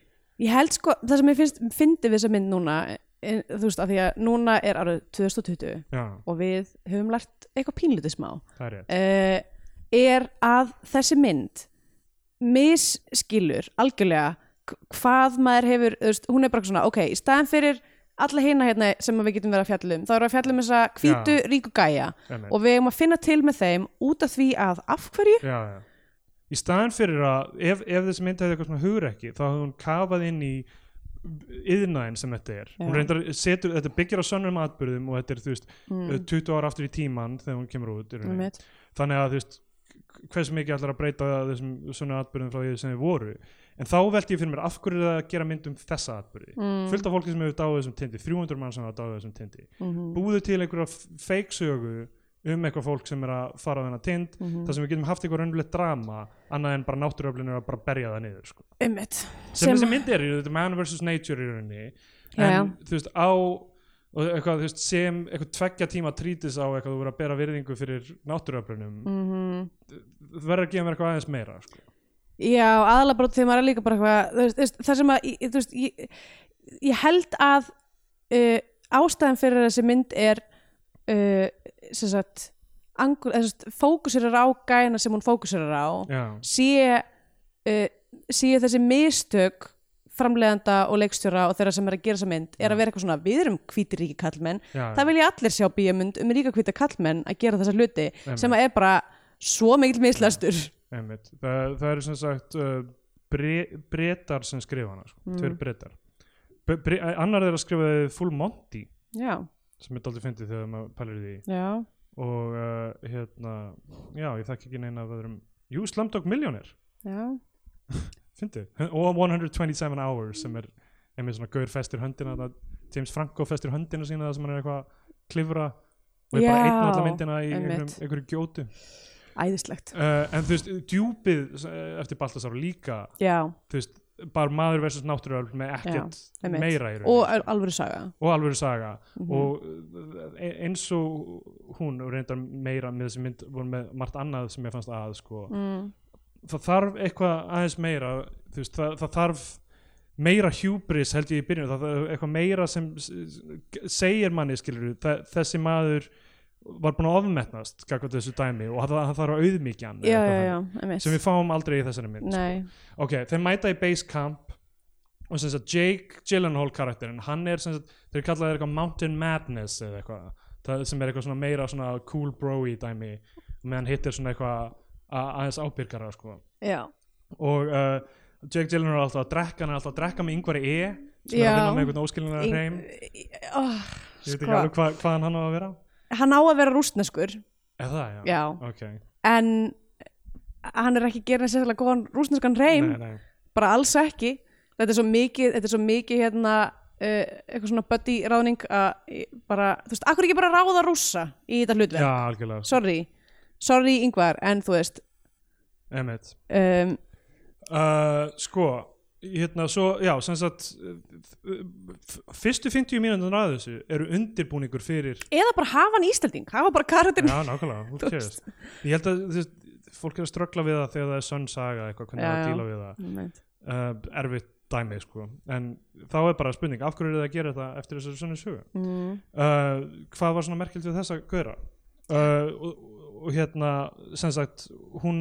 Speaker 1: Ég held sko, það sem ég finnst, fyndi við þessa mynd núna en, þú veist, af því að núna er árið 2020
Speaker 2: já,
Speaker 1: og við höfum lært eitthvað pínlítið smá
Speaker 2: það er rétt
Speaker 1: uh, er að þessi mynd misskilur algjörlega k- hvað maður hefur, þú veist, hún er bara svona ok, í staðan fyrir alla hina hérna sem að við getum verið að fjallum, þá erum við að fjallum þessa hvítu ríku gæja
Speaker 2: Einmitt.
Speaker 1: og við eigum að finna til með þeim út af því að af hverju
Speaker 2: já, já. í staðan fyrir að ef, ef þessi mynd hefði eitthvað svona hugrekki þá hefði hún kafað inn í yðnaðin sem þetta er hún
Speaker 1: Já.
Speaker 2: reyndar setur, þetta byggir á sönnum atbyrðum og þetta er þú veist 20 ára aftur í tíman þegar hún kemur út í rauninni.
Speaker 1: Mm. Einmitt.
Speaker 2: þannig að þú veist hversu mikið allar að breyta þessum svona atbyrðum frá því sem þið voru en þá velti ég fyrir mér af hverju er það að gera mynd um þessa atbyrði mm. fullt af fólki sem hefur dáið þessum tindi 300 mann sem hefur dáið þessum tindi
Speaker 1: Mhm.
Speaker 2: búðu til einhverja feiksögu um eitthvað fólk sem er að fara á þennan tind þar sem við getum haft eitthvað raunulegt drama annað en bara náttúruöflinu að bara berja það niður sko.
Speaker 1: Einmitt.
Speaker 2: sem, þessi mynd er, þetta er man vs. nature í rauninni en
Speaker 1: Já, já.
Speaker 2: þú veist á og eitthvað, þú veist, sem eitthvað tveggja tíma trítis á eitthvað þú voru að bera virðingu fyrir náttúruöflunum mm
Speaker 1: Mhm.
Speaker 2: -hmm. verður að gefa mér eitthvað aðeins meira sko.
Speaker 1: Já, aðalega bara þegar maður er líka bara eitthvað þú veist- þú veist, það sem að, ég- þú veist, ég, ég held að uh, ástæðan fyrir þessi mynd er uh, sem sagt angur, eða, sem sagt, fókusirar á gæna sem hún fókusirar á
Speaker 2: já,
Speaker 1: sé, uh, sé þessi mistök framleiðanda og leikstjóra og þeirra sem er að gera þessa mynd er að vera eitthvað svona, við erum hvítiríki kallmenn
Speaker 2: já,
Speaker 1: það vilja allir sjá bíamund um ríka hvita kallmenn að gera þessa hluti sem að er bara svo mikill mislestur
Speaker 2: einmitt það, það eru sem sagt uh, bre, bretar sem skrifa hana sko. mm. tveir bretar bre, bre, annar er að skrifa full monty
Speaker 1: já,
Speaker 2: sem er daldið fyndið þegar maður pælir í því
Speaker 1: já,
Speaker 2: og uh, hérna já, ég þekki ekki neina af öðrum jú, Slumdog Millionaire
Speaker 1: já
Speaker 2: fyndið, og 127 Hours sem er einmitt svona gaur festir höndina það, James Franco festir höndina sína það sem hann er eitthvað að klifra og er bara
Speaker 1: Já,
Speaker 2: einn allar myndina í einhverjum,
Speaker 1: einmitt.
Speaker 2: einhverju gjótu
Speaker 1: æðislegt
Speaker 2: uh, en þú veist, djúpið eh, eftir Baltasar líka
Speaker 1: já,
Speaker 2: þú veist, bara maður versus náttúruöfl með ekkert
Speaker 1: einmitt.
Speaker 2: meira í raun
Speaker 1: og Mhm. al- alvöru saga
Speaker 2: og alvöru saga og eh, eins og hún og reyndar meira með þessi mynd voru með margt annað sem ég fannst að sko.
Speaker 1: mm.
Speaker 2: það þarf eitthvað aðeins meira þú veist, það, það þarf meira hubris held ég í byrjun það þarf eitthvað meira sem s- s- segir manni skilur þessi maður var búin að ofmetnast gagnvart þessu dæmi og það, það þarf að auðmíkja hann
Speaker 1: já,
Speaker 2: eða
Speaker 1: já,
Speaker 2: eitthvað
Speaker 1: já,
Speaker 2: þannig,
Speaker 1: einmitt
Speaker 2: sem við fáum aldrei í þessari mynd sko
Speaker 1: nei,
Speaker 2: ok, þeir mæta í base camp og sem sagt Jake Gyllenhaal karakterinn, hann er sem sagt þeir kalla það eitthvað Mountain Madness eða eitthvað það sem er eitthvað svona meira svona cool bro-y dæmi, meðan hittir svona eitthvað a- aðeins ábyrgara sko
Speaker 1: já,
Speaker 2: og uh, Jake Gyllenhaal er alltaf að drekka hann er alltaf að drekka með yngvari E sem er
Speaker 1: Já.
Speaker 2: að vinna með einhvern óskilinlega
Speaker 1: Í-
Speaker 2: hreim
Speaker 1: í- oh,
Speaker 2: ég veit ekki
Speaker 1: sko.
Speaker 2: alveg hva, hvaðan hann á að vera
Speaker 1: hann á að vera rústneskur
Speaker 2: er það, já,
Speaker 1: Já.
Speaker 2: ok
Speaker 1: en hann er ekki gerin sérstaklega góðan rústneskan reym
Speaker 2: nei, nei.
Speaker 1: bara alls ekki þetta er svo mikið, þetta er svo mikið hérna Uh, eitthvað svona buddy ráðning að ég bara, þú veist, akkur ekki bara ráða rússa í þetta
Speaker 2: já,
Speaker 1: hlutverk,
Speaker 2: algjörlega
Speaker 1: sorry sorry yngvar, en þú veist
Speaker 2: Emmett
Speaker 1: um,
Speaker 2: uh, sko hérna svo, já, sem sagt uh, f- fyrstu 50 mínútur að þessu eru undirbúningur
Speaker 1: *laughs*
Speaker 2: fyrir
Speaker 1: eða bara hafa hann ístælding, hafa bara karatinn
Speaker 2: já, nákvæmlega, who
Speaker 1: Þú
Speaker 2: cares ég held að þú veist, fólk er að ströggla við það þegar það er sönn saga eitthvað, hvernig
Speaker 1: Já,
Speaker 2: það er
Speaker 1: já.
Speaker 2: að díla við
Speaker 1: Einmitt.
Speaker 2: það uh, erfitt dæmi, sko en þá er bara spurning, af hverju eru það að gera þetta eftir þessari sönnu sögu
Speaker 1: mm.
Speaker 2: uh, hvað var svona merkilt við þessa gauðra uh, og, og hérna sem sagt hún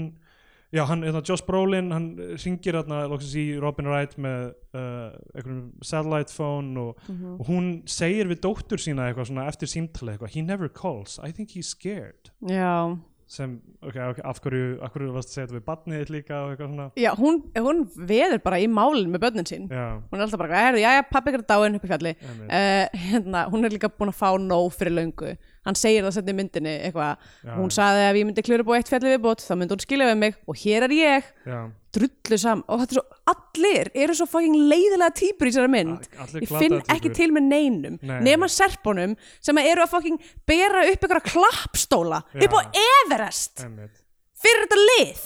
Speaker 2: já hann, hérna Josh Brolin hann ringir hérna loksins í Robin Wright með uh, einhverjum satellite phone og, og hún segir við dóttur sína eitthvað svona eftir símtalið eitthvað he never calls, I think he's scared
Speaker 1: já
Speaker 2: sem, ok, ok, af hverju, af hverju varst að segja þetta við barnið þitt líka og eitthvað svona
Speaker 1: Já, hún, hún veður bara í málinn með börnin sín.
Speaker 2: já,
Speaker 1: Hún er alltaf bara, herðu, já, já, pappi ykkur er dáinn upp í fjalli.
Speaker 2: einmitt,
Speaker 1: Uh, hérna, hún er líka búin að fá nóg fyrir löngu. Hann segir það sendið myndinni eitthvað.
Speaker 2: Já.
Speaker 1: Hún saði að ef ég myndi klura búið eitt fjalli viðbót, þá myndi hún skilja við mig og hér er ég,
Speaker 2: já,
Speaker 1: drullu sam. Og þetta er svo, allir eru svo fucking leiðilega týpur í þessari mynd.
Speaker 2: A- allir
Speaker 1: Ég finn
Speaker 2: glataðar
Speaker 1: ekki
Speaker 2: týpur.
Speaker 1: til með neinum,
Speaker 2: Nei.
Speaker 1: nema serpunum sem að eru að fucking bera upp ykkur klappstóla
Speaker 2: Já.
Speaker 1: upp á Everest
Speaker 2: einmitt
Speaker 1: fyrir þetta lið.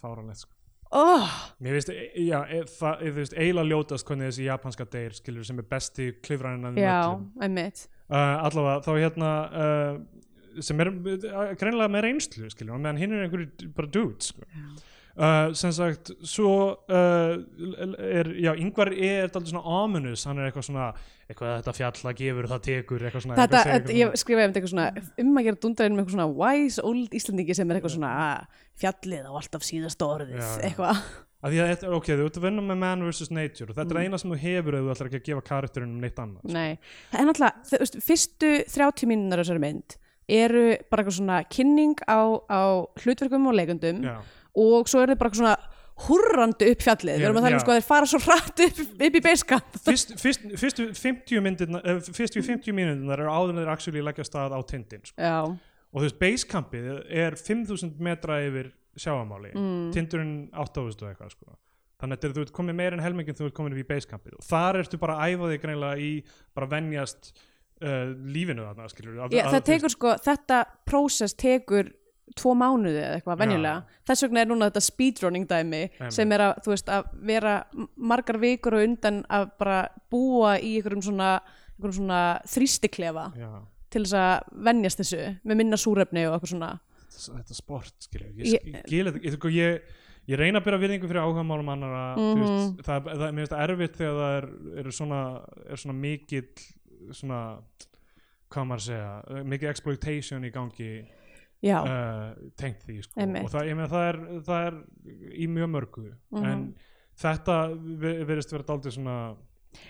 Speaker 2: fáranlegt sko
Speaker 1: Oh,
Speaker 2: Mér finnst, e- já, e, það, e, þú veist, eiginlega ljótast hvernig þessi japanska deyr, skilur, sem er besti klifrarinn af þeim
Speaker 1: já,
Speaker 2: um öllum.
Speaker 1: einmitt.
Speaker 2: Uh, allavega, þá hérna, uh, sem er uh, greinlega með reynslu, skilur, á meðan hinn er einhverju d- bara dude, sko. Uh, sem sagt, svo uh, l- er, já, yngvar er daldið svona ominous, hann er eitthvað svona, eitthvað þetta fjalla gefur, það tekur, eitthvað svona.
Speaker 1: þetta,
Speaker 2: eitthvað segir
Speaker 1: þetta, ég skrifaði um þetta eitthvað svona um að gera dundarinn með eitthvað svona wise old Íslandingi sem er eitthvað svona ah, fjallið á alltaf síðast orðið
Speaker 2: Já, já.
Speaker 1: eitthvað,
Speaker 2: Af því að þetta, ok, þú ert að vinna með man vs. nature og þetta
Speaker 1: Mm.
Speaker 2: er eina sem þú hefur ef þú ætlar ekki að gefa karakterunum neitt annað.
Speaker 1: nei það er náttúrulega, þú veist, fyrstu 30 mínunar þessari mynd eru bara eitthvað svona kynning á, á hlutverkum og leikundum
Speaker 2: Já.
Speaker 1: og svo er þetta bara eitthvað svona hurrandi upp fjallið,
Speaker 2: Já,
Speaker 1: við erum að tala um
Speaker 2: já.
Speaker 1: sko að þeir fara svo hratt upp, upp í beiskamp
Speaker 2: fyrst, fyrst, fyrstu 50 myndirna eh, fyrstu 50 myndirnar eru áður en þeir actually leggja af stað á tindin sko.
Speaker 1: já,
Speaker 2: og þú veist, basecampið er 5000 metra yfir sjáamáli mm. tindurinn 8000 og eitthvað sko. þannig að þetta er, þú ert komið meir en helmingin þú ert komin upp í basecampið og þar ertu bara að æfa þig greinlega í bara venjast uh, lífinu þarna skilur,
Speaker 1: já það tekur sko þetta prósess tekur tvo mánuði eða eitthvað venjulega þess vegna er núna þetta speedrunning dæmi
Speaker 2: Einmitt.
Speaker 1: sem er að, þú veist, að vera m- margar vikur og undan að bara búa í einhverjum svona, einhverjum svona þrýstiklefa
Speaker 2: já,
Speaker 1: til þess að venjast þessu með minna súrefni og eitthvað svona
Speaker 2: s- þetta er sport skilur,
Speaker 1: Ég-
Speaker 2: ég skil þetta ekki, ég, sko, ég Ég reyna að byrja virðingu fyrir áhugamálum annara
Speaker 1: Mhm.
Speaker 2: mm veist, það, það, mér finnst það erfitt þegar það er, er, svona, er svona mikill svona, hvað maður að segja eh, mikið exploitation í gangi
Speaker 1: já,
Speaker 2: uh, tengt því sko.
Speaker 1: Einmitt. Mhm.
Speaker 2: og það, ég meina, það, er, það er í mjög mörgu en þetta vi- virðist vera daldið svona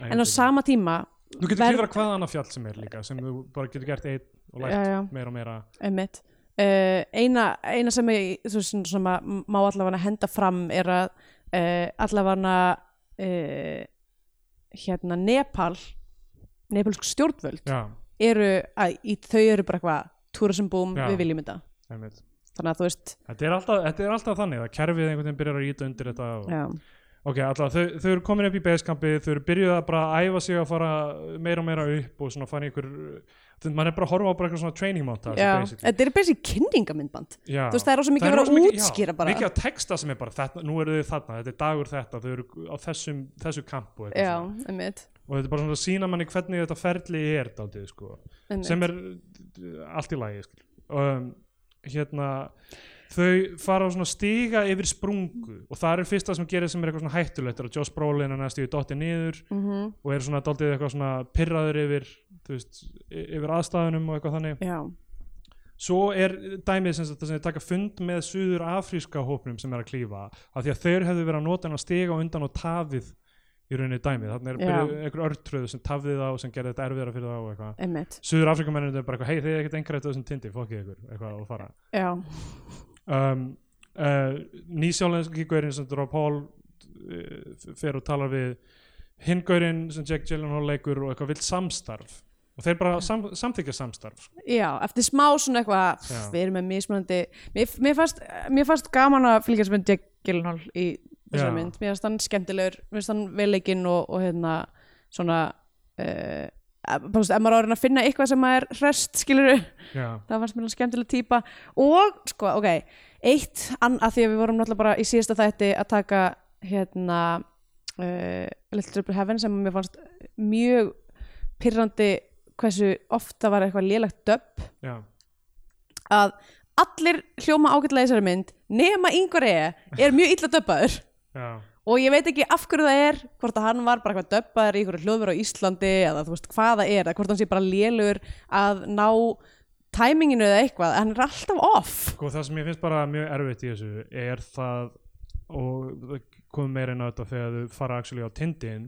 Speaker 1: en á sama tíma
Speaker 2: Þú getur
Speaker 1: verð-
Speaker 2: verð... klifra hvaða annað fjall sem er líka sem þú bara getur gert einn og lært
Speaker 1: Já, já.
Speaker 2: meira og meira
Speaker 1: Einmitt. Uh, eina, eina sem ég, þú veist, svona, svona, ma- má allavega henda fram er að uh, allavega uh, hérna Nepal nepalsk stjórnvöld
Speaker 2: Já,
Speaker 1: eru að í, þau eru bara eitthvað tourism boom,
Speaker 2: Já.
Speaker 1: við viljum þetta
Speaker 2: einmitt
Speaker 1: þannig að þú veist
Speaker 2: Þetta er, alltaf, þetta er alltaf þannig að kerfið einhvern veginn byrjar að íta undir þetta og,
Speaker 1: já,
Speaker 2: Ok, alltaf, þau, þau eru komin upp í basecampi, þau eru byrjuð að bara æfa sig að fara meira og meira upp og svona fara í einhver, þú veist, maður er bara að horfa á bara eitthvað svona training montage
Speaker 1: já.
Speaker 2: basically.
Speaker 1: þetta er basic kynningamindband
Speaker 2: Já.
Speaker 1: þú veist, það er rosa mikið að
Speaker 2: er
Speaker 1: vera
Speaker 2: rosa
Speaker 1: að
Speaker 2: mikið-
Speaker 1: útskýra
Speaker 2: já,
Speaker 1: bara.
Speaker 2: Mikið að texta sem er bara, þetta, nú eru þau þarna, þetta er dagur þetta, þau eru á þessum, þessu kampu
Speaker 1: já, einmitt,
Speaker 2: og þetta er bara svona að sína manni hvernig þetta ferli er daldið, sko,
Speaker 1: einmitt.
Speaker 2: sem er uh, allt í lagi, skil. Um, hérna, þau fara á svona stiga yfir sprungu og það er fyrsta sem gerir sem er eitthvað svona hættulegt er að Joss Brolin er næstu í dotti niður
Speaker 1: Mhm,
Speaker 2: og er svona daldið eitthvað svona pirraður yfir þú veist, y- yfir aðstæðunum og eitthvað þannig
Speaker 1: já,
Speaker 2: svo er dæmið sem þetta sem þið taka fund með suður afríska hópnum sem er að klífa af því að þeir hefðu verið að nota hann að stiga á undan og tafið í rauninni dæmið þannig er
Speaker 1: Já.
Speaker 2: byrjuð einhver örtröðu sem tafið þá sem gerði þetta erfiðara fyrir þá og eitthvað
Speaker 1: einmitt
Speaker 2: suður afríkamennir er bara eitthvað hei þið er ekkert einhverjum þessum tindi, fokkið ykkur eitthvað og fara
Speaker 1: já,
Speaker 2: um, uh, nýsjálenski gaurinn sem Drá Pól uh, fer og talar við hinn gaurinn sem Jack Gyllenhaal leikur og eitthvað vill samstarf og þeir bara sam, samþykja samstarf sko.
Speaker 1: já, eftir smá svona eitthvað pff,
Speaker 2: Já.
Speaker 1: við erum með mismunandi mér, mér, fannst, mér fannst gaman að fylgjast með Jack Gyllenhaal í þessari
Speaker 2: Já.
Speaker 1: mynd, mér finnst hann skemmtilegur mér finnst hann velleikinn og, og hérna svona uh, bara, þú veist, ef maður á að reyna að finna eitthvað sem maður er hrest skilur *laughs*
Speaker 2: já,
Speaker 1: það fannst mér hann skemmtileg típa og sko, ok, eitt an, að því að við vorum náttúrulega bara í síðasta þætti að taka hérna uh, Little Triple Heaven sem mér fannst mjög pyrrandi hversu ofta var eitthvað lélegt döpp
Speaker 2: já,
Speaker 1: að allir hljóma ágætlega í þessari mynd nema yngvar eða er mjög illa döppaður
Speaker 2: já,
Speaker 1: og ég veit ekki af hverju það er hvort að hann var bara eitthvað döppaður í einhverju hljóðveru á Íslandi eða þú veist hvað það er eða hvort hann sé bara lélur að ná tæminginu eða eitthvað hann er alltaf off
Speaker 2: sko það sem ég finnst bara mjög erfitt í þessu er það og það komum meira inn á þetta þegar þau fara actually á tindin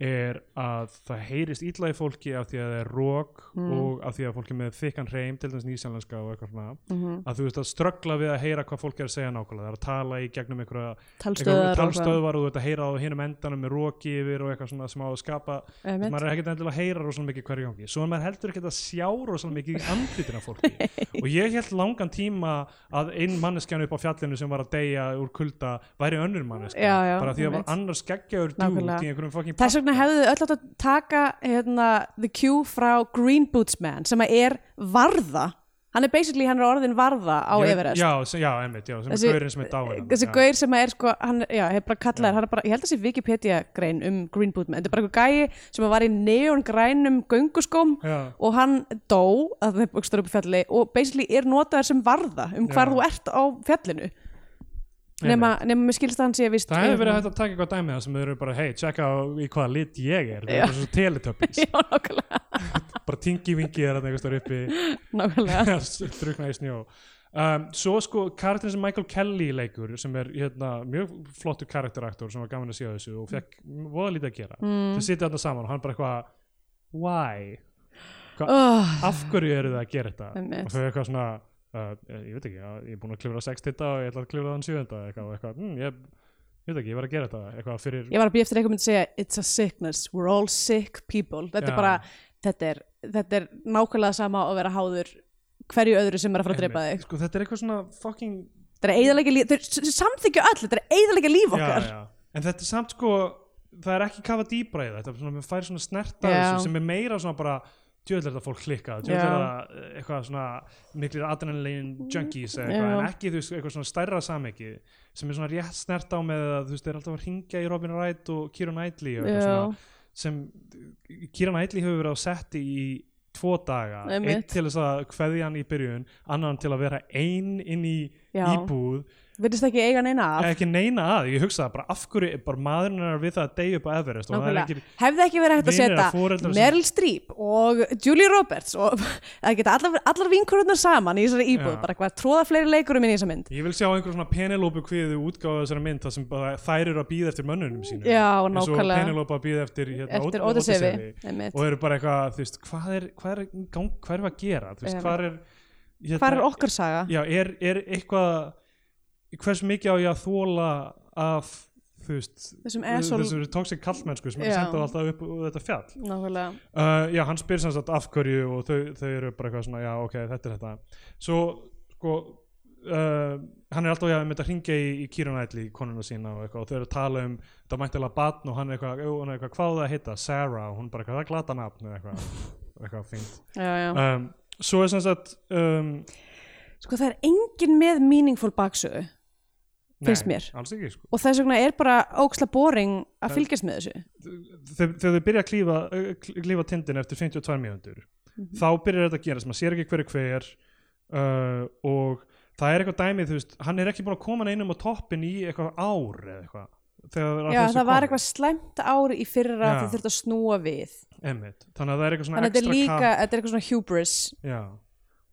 Speaker 2: er að það heyrist illa í fólki af því að það er rók
Speaker 1: Mm.
Speaker 2: og af því að fólki með þykkan hreim til dæmis nýsjálænska og eitthvað svona
Speaker 1: Mhm.
Speaker 2: að þú veist að ströggla við að heyra hvað fólk er að segja nákvæmlega það er að tala í gegnum einhverja
Speaker 1: Talstöðvar og
Speaker 2: einhverja talstöðvar og þú veit að heyra á hinum endanum með róki yfir og eitthvað svona sem á að skapa
Speaker 1: Einmitt.
Speaker 2: maður er ekkert endilega að heyra rosalega mikið hverju gangi svo er maður heldur ekkert að sjá rosalega mikið í andlitina
Speaker 1: *laughs*
Speaker 2: á fólki og ég held langan tíma að einn manneskjan upp á fjallinu sem var að deyja úr kulda væri önnur manneskja
Speaker 1: Já, já,
Speaker 2: bara því að var
Speaker 1: einmitt.
Speaker 2: annars geggjaður dút
Speaker 1: Nákvæmlega.
Speaker 2: í einhverjum fucking
Speaker 1: þess vegna hefðu öll átt að taka hérna, the cue frá Green Boots Man sem að er varða hann er basically hann er orðin varða á
Speaker 2: Ég veit-
Speaker 1: Everest
Speaker 2: já, sem- já, einmitt, já, sem
Speaker 1: Þessi-
Speaker 2: er gaurinn sem er dáin
Speaker 1: þessi gaur sem er sko hann, já, hef bara kallar, hann er bara, ég held að þessi Wikipedia grein um Green Bootman, þetta er bara einhver gæi sem var í neon grænum gönguskóm
Speaker 2: Já.
Speaker 1: og hann dó að það bukstur upp í fjalli og basically er notaður sem varða um hvar
Speaker 2: Já.
Speaker 1: þú ert á fjallinu nema, nema mér skilst að hann sé um- vist
Speaker 2: Það hefur verið hægt að taka eitthvað dæmið sem þau eru bara, hei, tjekka á í hvaða lit ég er, það
Speaker 1: Já.
Speaker 2: er bara svo teletöppis,
Speaker 1: *laughs* *laughs* já, nákvæmlega,
Speaker 2: bara tingi-vingi er þetta einhverstaður uppi *laughs*
Speaker 1: nákvæmlega.
Speaker 2: drukna í snjó um, svo sko karakterin sem Michael Kelly leikur sem er hérna, mjög flottur karakteraktor sem var gaman að séu þessu og fekk voða lítið að gera mm. þau sitja þarna saman og hann bara eitthvað why? Hva,
Speaker 1: Oh,
Speaker 2: af hverju eru það að gera þetta?
Speaker 1: Einmitt.
Speaker 2: og þau eru eitthvað svona uh, ég veit ekki, já, ég er búin að klifra sex titta og ég ætla að klifra þann sjöfunda eitthvað, og eitthvað mm, ég, ég veit ekki, ég var að gera þetta eitthvað fyrir
Speaker 1: ég var að býja eftir eitthvað myndi segja it's a sickness, we're all sick people þetta
Speaker 2: Já.
Speaker 1: er bara, þetta er, þetta er nákvæmlega sama að vera háður hverju öðru sem er að fara að drepa þig
Speaker 2: sko, þetta er eitthvað svona fucking
Speaker 1: þetta er eiginlega líf, þau samþykju öll þetta er eiginlega líf okkar
Speaker 2: já, já. en þetta er samt sko það er ekki kafa dýbra í það þetta er svona, mér fær svona snerta
Speaker 1: Já.
Speaker 2: þessu sem er meira svona bara djöðlega þetta fólk klikkað
Speaker 1: Já.
Speaker 2: djöðlega þetta eh, eitthvað svona miklir adrenalin junkies eða eitthvað
Speaker 1: Já.
Speaker 2: en ekki þú veist eitthvað svona stærra samhengi sem er svona rétt snerta á með að þú veist þeir eru alltaf að ringja í Robin Wright og Kira Knightley og eitthvað
Speaker 1: Já.
Speaker 2: svona sem Kira Knightley hefur verið á setti í tvo daga,
Speaker 1: Einmitt.
Speaker 2: einn til þess að kveðja hann í byrjun, annan til að vera ein inn í
Speaker 1: Já.
Speaker 2: íbúð
Speaker 1: virðist ekki eiga neina af
Speaker 2: Eh, ekki neina að, ég hugsaði bara af hverju er bara maðurinn er við það að deyja upp á Everest og það er
Speaker 1: Nákvæmlega.
Speaker 2: ekki,
Speaker 1: hefði ekki verið hægt að
Speaker 2: Vinir eða
Speaker 1: setja
Speaker 2: foreldrar sem-
Speaker 1: Meryl Streep og Julie Roberts og *laughs* það geta allar, allar vinkururnar saman í þessari íbúð,
Speaker 2: Já.
Speaker 1: bara hvað tróða fleiri leikurum inn í þessa mynd
Speaker 2: ég vil sjá einhver svona penelópu kviðu útgáðu þessari mynd þar sem bara þær eru að býða eftir mönnunum sínum
Speaker 1: Já,
Speaker 2: eins og
Speaker 1: nákvæmlega.
Speaker 2: penelópa að býða eftir, hérna,
Speaker 1: eftir
Speaker 2: Ód-
Speaker 1: Odyssey
Speaker 2: Ódyssefi. og eru bara eitthvað, þú veist, hvað er hvað er, í gang, hvað er að gera, þú veist,
Speaker 1: Já.
Speaker 2: hvað er hérna,
Speaker 1: hvað er okkar saga?
Speaker 2: já, er, er eitthvað hversu mikið á ég að þóla af, þú veist
Speaker 1: Þessum asshole-
Speaker 2: þessum tóksik kallmennsku sem er
Speaker 1: Já.
Speaker 2: sendað alltaf upp á þetta fjall
Speaker 1: nákvæmlega
Speaker 2: Uh, já, hann spyr sem sagt af hverju og þau, þau eru bara eitthvað svona, já, ok, þetta er þetta. Svo, sko, uh, hann er alltaf, já, með þetta hringja í, í kýrunætli, konuna sína og eitthvað, og þau eru að tala um, það mætti alveg batn og hann er eitthvað, "Jú, hún er eitthvað, hvað á það að hitta, Sarah, og hún bara eitthvað, það er glata nafn, eða eitthvað, eitthvað
Speaker 1: *laughs*
Speaker 2: fínt.
Speaker 1: já, já.
Speaker 2: Um, svo er sem sagt, um,
Speaker 1: sko það er engin með meaningful baksögu Finnst mér.
Speaker 2: alls ekki, sko.
Speaker 1: og þess vegna er bara óksla boring að fylgjast með þessu
Speaker 2: þegar þegar þau byrja að klífa, eh, kl- klífa tindin eftir 52 mínútur
Speaker 1: Mhm.
Speaker 2: þá byrjar þetta að gerast, maður sér ekki hverju hver uh, og það er eitthvað dæmið, þú veist, hann er ekki búin að koma neinum á toppin í eitthvað ár eða eitthvað þegar
Speaker 1: já, það var eitthvað slæmt ári í fyrra
Speaker 2: Já.
Speaker 1: þau þurft að snúa við
Speaker 2: einmitt, þannig að það er eitthvað svona
Speaker 1: þannig að þetta er
Speaker 2: extra
Speaker 1: líka, þetta er eitthvað svona hubris
Speaker 2: kapp já.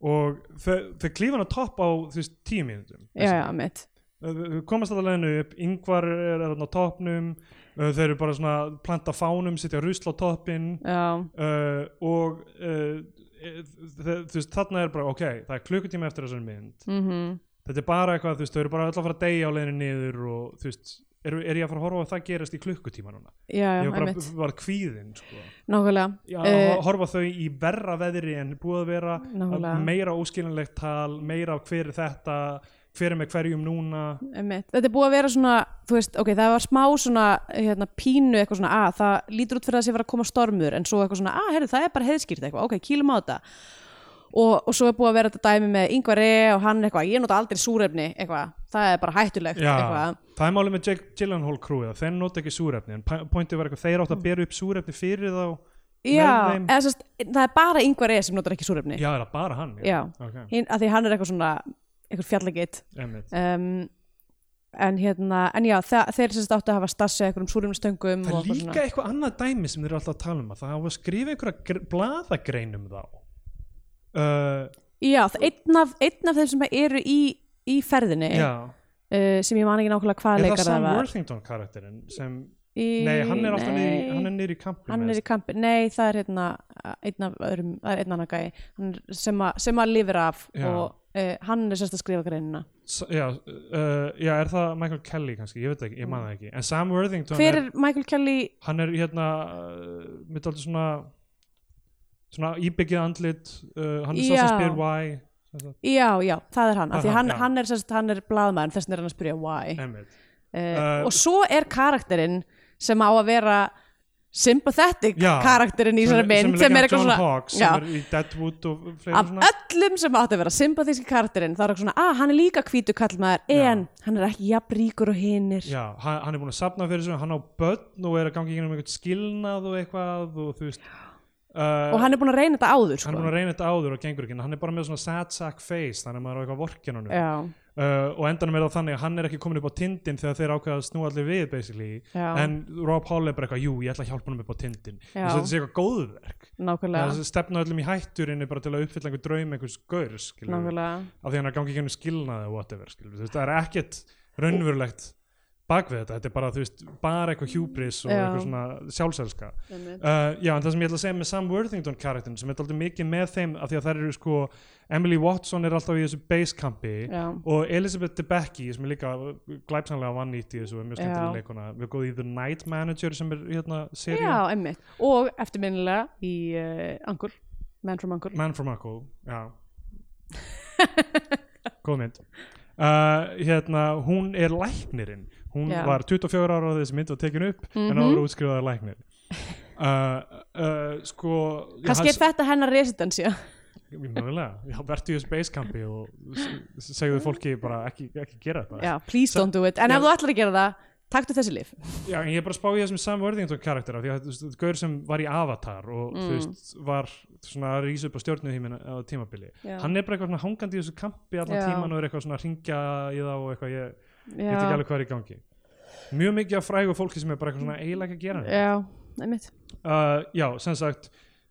Speaker 2: og þau, þau klífa hann á topp á þú veist, 10 mínútum
Speaker 1: já, já, mitt
Speaker 2: Þau- þau komast alltaf leiðinu upp, yngvar er þarna á toppnum uh, þau eru bara svona planta fánum, sitja rusl á toppin
Speaker 1: já,
Speaker 2: uh, og uh, e- þ- þú veist þarna er bara ok, það er klukkutíma eftir þessari mynd
Speaker 1: mhm,
Speaker 2: þetta er bara eitthvað, þú veist, þau eru bara öll að fara að deyja á leiðinu niður og þú veist er, er ég að fara að horfa á að það gerist í klukkutíma núna
Speaker 1: já, já,
Speaker 2: ég var
Speaker 1: mitt
Speaker 2: bara var kvíðinn sko.
Speaker 1: nákvæmlega
Speaker 2: Já,
Speaker 1: Eh,
Speaker 2: að horfa á þau í verra veðri en búið að vera
Speaker 1: Nákvæmlega.
Speaker 2: meira óskilinlegt tal meira hver er þetta hver er með hverjum núna
Speaker 1: Einmitt. Þetta er búið að vera svona, þú veist, ok, það var smá svona hérna, pínu eitthvað svona að það lítur út fyrir að það sé vera að koma stormur en svo eitthvað svona að, herru, það er bara heiðskýrt eitthvað, ok, kýlum á þetta og, og svo er búið að vera þetta dæmi með yngvari og hann eitthvað, ég nota aldrei súrefni eitthvað, það er bara hættulegt
Speaker 2: Já,
Speaker 1: eitthvað,
Speaker 2: það er málið með Jake Gyllenhaal crewið að þeir nota ekki súrefni en pa- pointið var eitthvað þeir átt að bera upp súrefni fyrir þá
Speaker 1: já,
Speaker 2: þeim-
Speaker 1: eða sérst, það er bara yngvari sem notar ekki súrefni,
Speaker 2: Já, er það bara hann?
Speaker 1: já.
Speaker 2: Ok,
Speaker 1: Hinn, að því hann er eitthvað svona, eitthvað fjallegeitt
Speaker 2: einmitt.
Speaker 1: um, en hérna en já, þa- þeir sem sagt áttu að hafa stassi eitthvað um súrumstöngum
Speaker 2: Það er líka eitthvað annað dæmi sem þeir eru alltaf að tala um að það hafa skrifið einhverja bladagrein um þá uh,
Speaker 1: já, það- einn af, einn af þeim sem eru í, í ferðinni
Speaker 2: Já,
Speaker 1: uh, sem ég man ekki nákvæmlega hvaða
Speaker 2: er það
Speaker 1: leikar
Speaker 2: Sam
Speaker 1: Eh, það var
Speaker 2: Worthington karakterinn sem,
Speaker 1: í,
Speaker 2: nei, hann er alltaf niður í-
Speaker 1: nei,
Speaker 2: hann er niður í kampum
Speaker 1: hann er í kampi, nei það er hérna einn af öðrum, það er einn annar gæi hann er- sem, að- sem að lifir af
Speaker 2: Já.
Speaker 1: og uh, hann er sérst að skrifa greinina
Speaker 2: já, uh, já, er það Michael Kelly kannski, ég veit það ekki, ég maður það ekki en Sam Worthington
Speaker 1: hver er Michael Kelly
Speaker 2: hann er hérna uh, mitt aldrei svona svona íbyggið andlit uh, hann er svo sem
Speaker 1: Já.
Speaker 2: spyr why sem sagt,
Speaker 1: já, já, það er hann, af
Speaker 2: Það er
Speaker 1: því
Speaker 2: hann,
Speaker 1: hann,
Speaker 2: já.
Speaker 1: hann er sérst, hann er blaðmaður, þess vegna er hann að spyrja why
Speaker 2: Emmett.
Speaker 1: uh,
Speaker 2: Eh,
Speaker 1: og svo er karakterinn sem á að vera sympathetic
Speaker 2: Já.
Speaker 1: karakterinn í
Speaker 2: Sem-
Speaker 1: þessari mynd
Speaker 2: sem
Speaker 1: sem er
Speaker 2: leikar
Speaker 1: eitthvað
Speaker 2: John
Speaker 1: svona
Speaker 2: Hawks
Speaker 1: já,
Speaker 2: sem er í Deadwood og fleiri
Speaker 1: af
Speaker 2: svona
Speaker 1: öllum sem átti að vera sympathíski karakterinn þá er eitthvað svona, að hann er líka hvítu kallmaður
Speaker 2: Já.
Speaker 1: en hann er ekki jafn ríkur og hinnir
Speaker 2: já, hann, hann er búin að safna fyrir þessu hann á börn og er að gangi í gegnum einhvern skilnað og eitthvað og þú veist uh,
Speaker 1: og hann er búin að reyna þetta áður sko.
Speaker 2: hann er búin að reyna þetta áður og gengur ekki en hann er bara með svona sad sack face þannig að maður er á eitthvað vorkin honum
Speaker 1: já,
Speaker 2: uh, og endanum er það þannig að hann er ekki komin upp á tindin þegar þeir ákveða að snúa allir við basically
Speaker 1: Já.
Speaker 2: en Rob Hall er bara eitthvað, jú, ég ætla að hjálpa hann upp á tindin
Speaker 1: Já.
Speaker 2: þess að þetta sé eitthvað góðverk
Speaker 1: nákvæmlega,
Speaker 2: það stefna öllum í hætturinni bara til að uppfylla einhver draum einhvers gaur, skilur við,
Speaker 1: nákvæmlega.
Speaker 2: af því hann er að gangi í gennum skilnaði og whatever, skilur við, Þú veist, það er ekkert raunverulegt bak við þetta þetta er bara, þú veist, bara eitthvað hjúbris og
Speaker 1: Já.
Speaker 2: eitthvað svona sjálfselska uh, já, en það sem ég ætla að segja með Sam Worthington karakterin sem er alltaf mikið með þeim af því að þær eru sko, Emily Watson er alltaf í þessu basecampi
Speaker 1: Já.
Speaker 2: og Elizabeth Debicki sem er líka glæpsamlega vannýtt í þessu og er mjög
Speaker 1: Já.
Speaker 2: skemmtileg leikona við góðum í The Night Manager sem er hérna
Speaker 1: já,
Speaker 2: serían
Speaker 1: emmitt, og eftirminnilega í uh, Angul, Man from Angul
Speaker 2: Man from Uncle
Speaker 1: *laughs*
Speaker 2: já góð mynd uh, hérna, hún er læknirinn hún
Speaker 1: Já. Mhm.
Speaker 2: var 24 ára á þessi mynd og tekin upp en áður útskrifaði
Speaker 1: *laughs*
Speaker 2: læknir uh, uh, sko já,
Speaker 1: kannski
Speaker 2: hans-
Speaker 1: er þetta hennar residensja
Speaker 2: Mögulega, já, vertu í spacecampi og s- segðu fólki bara ekki, ekki gera þetta
Speaker 1: já, please don't do it, en ef þú ætlar að gera það taktu þessi lif
Speaker 2: Já, en ég er bara að spá í þessum Sam Worthington karaktera því að þú veist, þetta er gaur sem var í Avatar og þú
Speaker 1: Mm.
Speaker 2: veist, var svona að rísa upp á stjórnuhímin á tímabili
Speaker 1: Já.
Speaker 2: hann er bara eitthvað svona hangandi í þessu kampi allan
Speaker 1: Já.
Speaker 2: tíman og er eitthvað svona að ringja í þá og eitthvað, ég, ég veit
Speaker 1: Já.
Speaker 2: ekki alveg hvað er í gangi Mjög mikið af frægu fólki sem er bara eitthvað svona eiginlega ekki að gera neitt.
Speaker 1: já, emmitt
Speaker 2: uh, já, sem sagt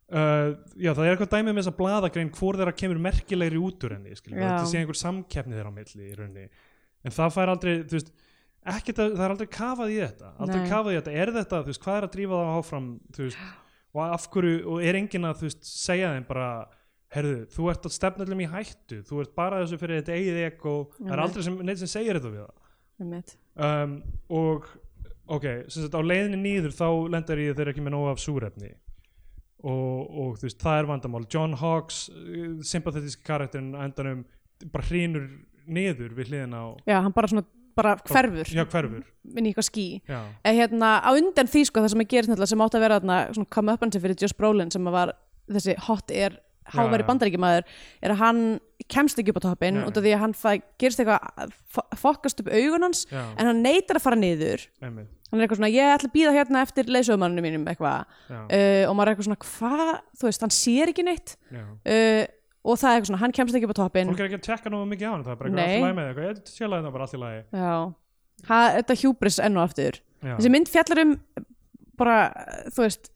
Speaker 2: Uh, já, það er eitthvað dæmið með þessa bladagrein hvort þeirra kemur merkilegri út úr henni skiljum,
Speaker 1: Já.
Speaker 2: þetta sé einhver samkeppni þeirra á milli í rauninni, en það fær aldrei þú veist, ekkert að, það er aldrei kafað í þetta aldrei
Speaker 1: Nei.
Speaker 2: kafað í þetta, er þetta þú veist, hvað er að drífa það áfram þú veist, og af hverju, og er enginn að þú veist, segja þeim bara, herðu, þú ert að stefna allum í hættu, þú ert bara þessu fyrir þetta eigið ekko, það er
Speaker 1: Einmitt.
Speaker 2: aldrei sem, neitt sem segir þetta við það
Speaker 1: emmitt
Speaker 2: um, og ok, sem sagt á leiðinni nýður þá lendar ég þeir ekki með nóg af súrefni og, og þú veist, það er vandamál John Hawks, uh, sympathetíski karakterin á endanum bara hrýnur niður við hliðina á
Speaker 1: Já, hann bara svona, bara hverfur
Speaker 2: já, hverfur,
Speaker 1: inn í eitthvað ský
Speaker 2: já,
Speaker 1: eða hérna, á undan því sko, það sem að gerist náttúrulega sem átti að vera þarna, svona come up hansi fyrir Josh Brolin sem að var þessi hot air
Speaker 2: Já,
Speaker 1: háveri
Speaker 2: já.
Speaker 1: bandaríkjamaður er að hann kemst ekki upp á toppin
Speaker 2: Nei,
Speaker 1: út af því að hann fæ, gerist eitthvað fo- fokkast upp augun hans
Speaker 2: Já.
Speaker 1: en hann neytar að fara niður
Speaker 2: einmitt
Speaker 1: hann er eitthvað svona, ég ætla að býða hérna eftir leysöfumanninu mínum eitthvað
Speaker 2: já,
Speaker 1: uh, og maður er eitthvað svona, hvað, þú veist, hann sér ekki neitt
Speaker 2: já.
Speaker 1: uh, og það er eitthvað svona, hann kemst ekki upp á toppin
Speaker 2: fólk er ekki að tjekka nógu mikið á hann það er bara eitthvað
Speaker 1: Nei.
Speaker 2: allt í lagi með eitthvað, ég sé að það bara allt í lagi
Speaker 1: Já, ha, þetta hjúbris enn og aftur
Speaker 2: Já.
Speaker 1: Þessi mynd fjallar um bara, þú veist